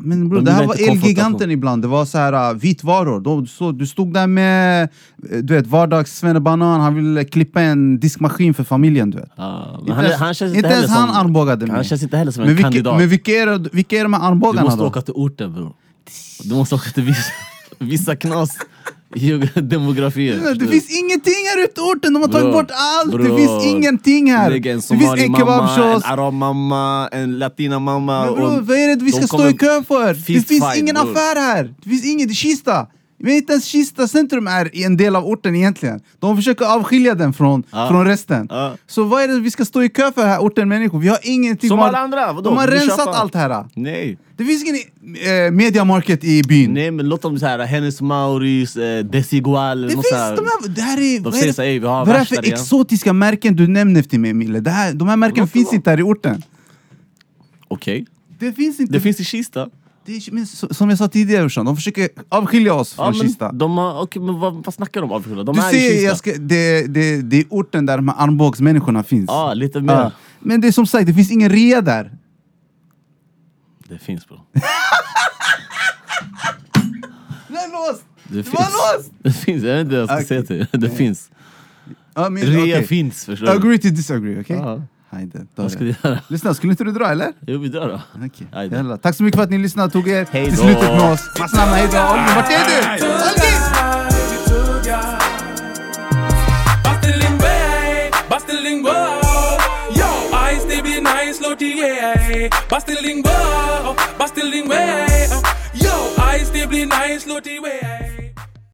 S2: Men bro,
S3: De
S2: det här
S3: gillar
S2: var
S3: inte
S2: Elgiganten
S3: konfrontation.
S2: ibland. Det var så här ah, vitvaror. Du, så, du stod där med eh, du vet, vardags banan han ville klippa en diskmaskin för familjen. du vet.
S3: Ja, men
S2: Inte
S3: han,
S2: ens-
S3: han känns
S2: inte
S3: inte heller
S2: ens han
S3: som,
S2: armbågade mig.
S3: Han känns inte heller som en
S2: Men, vilka,
S3: kandidat.
S2: men vilka, är, det- vilka är de här
S3: du
S2: armbågarna
S3: måste
S2: då?
S3: åka till orten bror. Du måste åka till vissa, vissa knas geog- demografier.
S2: Det
S3: förstår du?
S2: finns ingenting här ute i orten, de har tagit
S3: Bror,
S2: bort allt! Det
S3: bror.
S2: finns ingenting här!
S3: Lägg en
S2: Det finns
S3: somali
S2: en
S3: mamma, en
S2: kebabkiosk!
S3: arab mamma, en latina mamma.
S2: Men bror,
S3: och-
S2: vad är det vi
S3: de
S2: ska stå
S3: kommer-
S2: i kö för? Det
S3: Fist
S2: finns
S3: fight,
S2: ingen
S3: bror.
S2: affär här! Det finns inget, det är Kista! Men inte ens Kista centrum är i en del av orten egentligen. De försöker avskilja den från,
S3: Ja.
S2: från resten.
S3: Ja.
S2: Så vad är det vi ska stå i kö för här, orten människor? Vi har ingenting.
S3: Som
S2: De har-
S3: alla andra, vadå?
S2: De har
S3: Vi
S2: rensat
S3: köper.
S2: allt här.
S3: Nej.
S2: Det finns ingen eh, mediamarket i byn.
S3: Nej men låt dem såhär, Hennes Mauris, eh, Desigual.
S2: Det
S3: någon
S2: finns
S3: så här-
S2: de här, det här är, vad är
S3: säger
S2: det,
S3: så här, "Ey, vi har
S2: vad är det här
S3: värsta
S2: för
S3: rean."
S2: exotiska märken du nämner till mig Mille? Det här, de här märken
S3: Låt det
S2: finns
S3: vara.
S2: inte här i orten.
S3: Okej.
S2: Det finns inte.
S3: Det finns i Kista.
S2: Det är, men, så- som jag sa tidigare brorsan, de försöker avskilja oss
S3: Ja,
S2: från
S3: men
S2: Kista.
S3: De har, okej, men vad, vad snackar de om? Avskilda? De
S2: Du
S3: är i
S2: ser,
S3: Kista.
S2: jag ska, det, det, det är orten där de här armbågsmänniskorna finns.
S3: Ja, lite mer.
S2: Ja. Men det är som sagt, det finns ingen rea där.
S3: Det finns bro.
S2: Den är låst!
S3: Det,
S2: Det
S3: finns.
S2: var låst!
S3: Det finns, jag vet inte vad jag ska
S2: Ah, Okej.
S3: säga till dig. Det finns.
S2: Ja, men,
S3: Rea
S2: okej.
S3: finns förstår du.
S2: Agree to disagree, okej?
S3: Ja.
S2: Hajde, ta
S3: Vad
S2: det.
S3: ska du göra?
S2: Lyssna, skulle inte du dra eller?
S3: Jo vi drar då.
S2: Okej.
S3: Aj då.
S2: Jalla. Tack så mycket för att ni lyssnade och tog er
S3: Hej
S2: till
S3: då.
S2: slutet med oss. Masnama, hejdå! Oliver, vart är du? Oliver!
S1: Bastilingua, bastilingua, yo, I still be nice, Lottie way.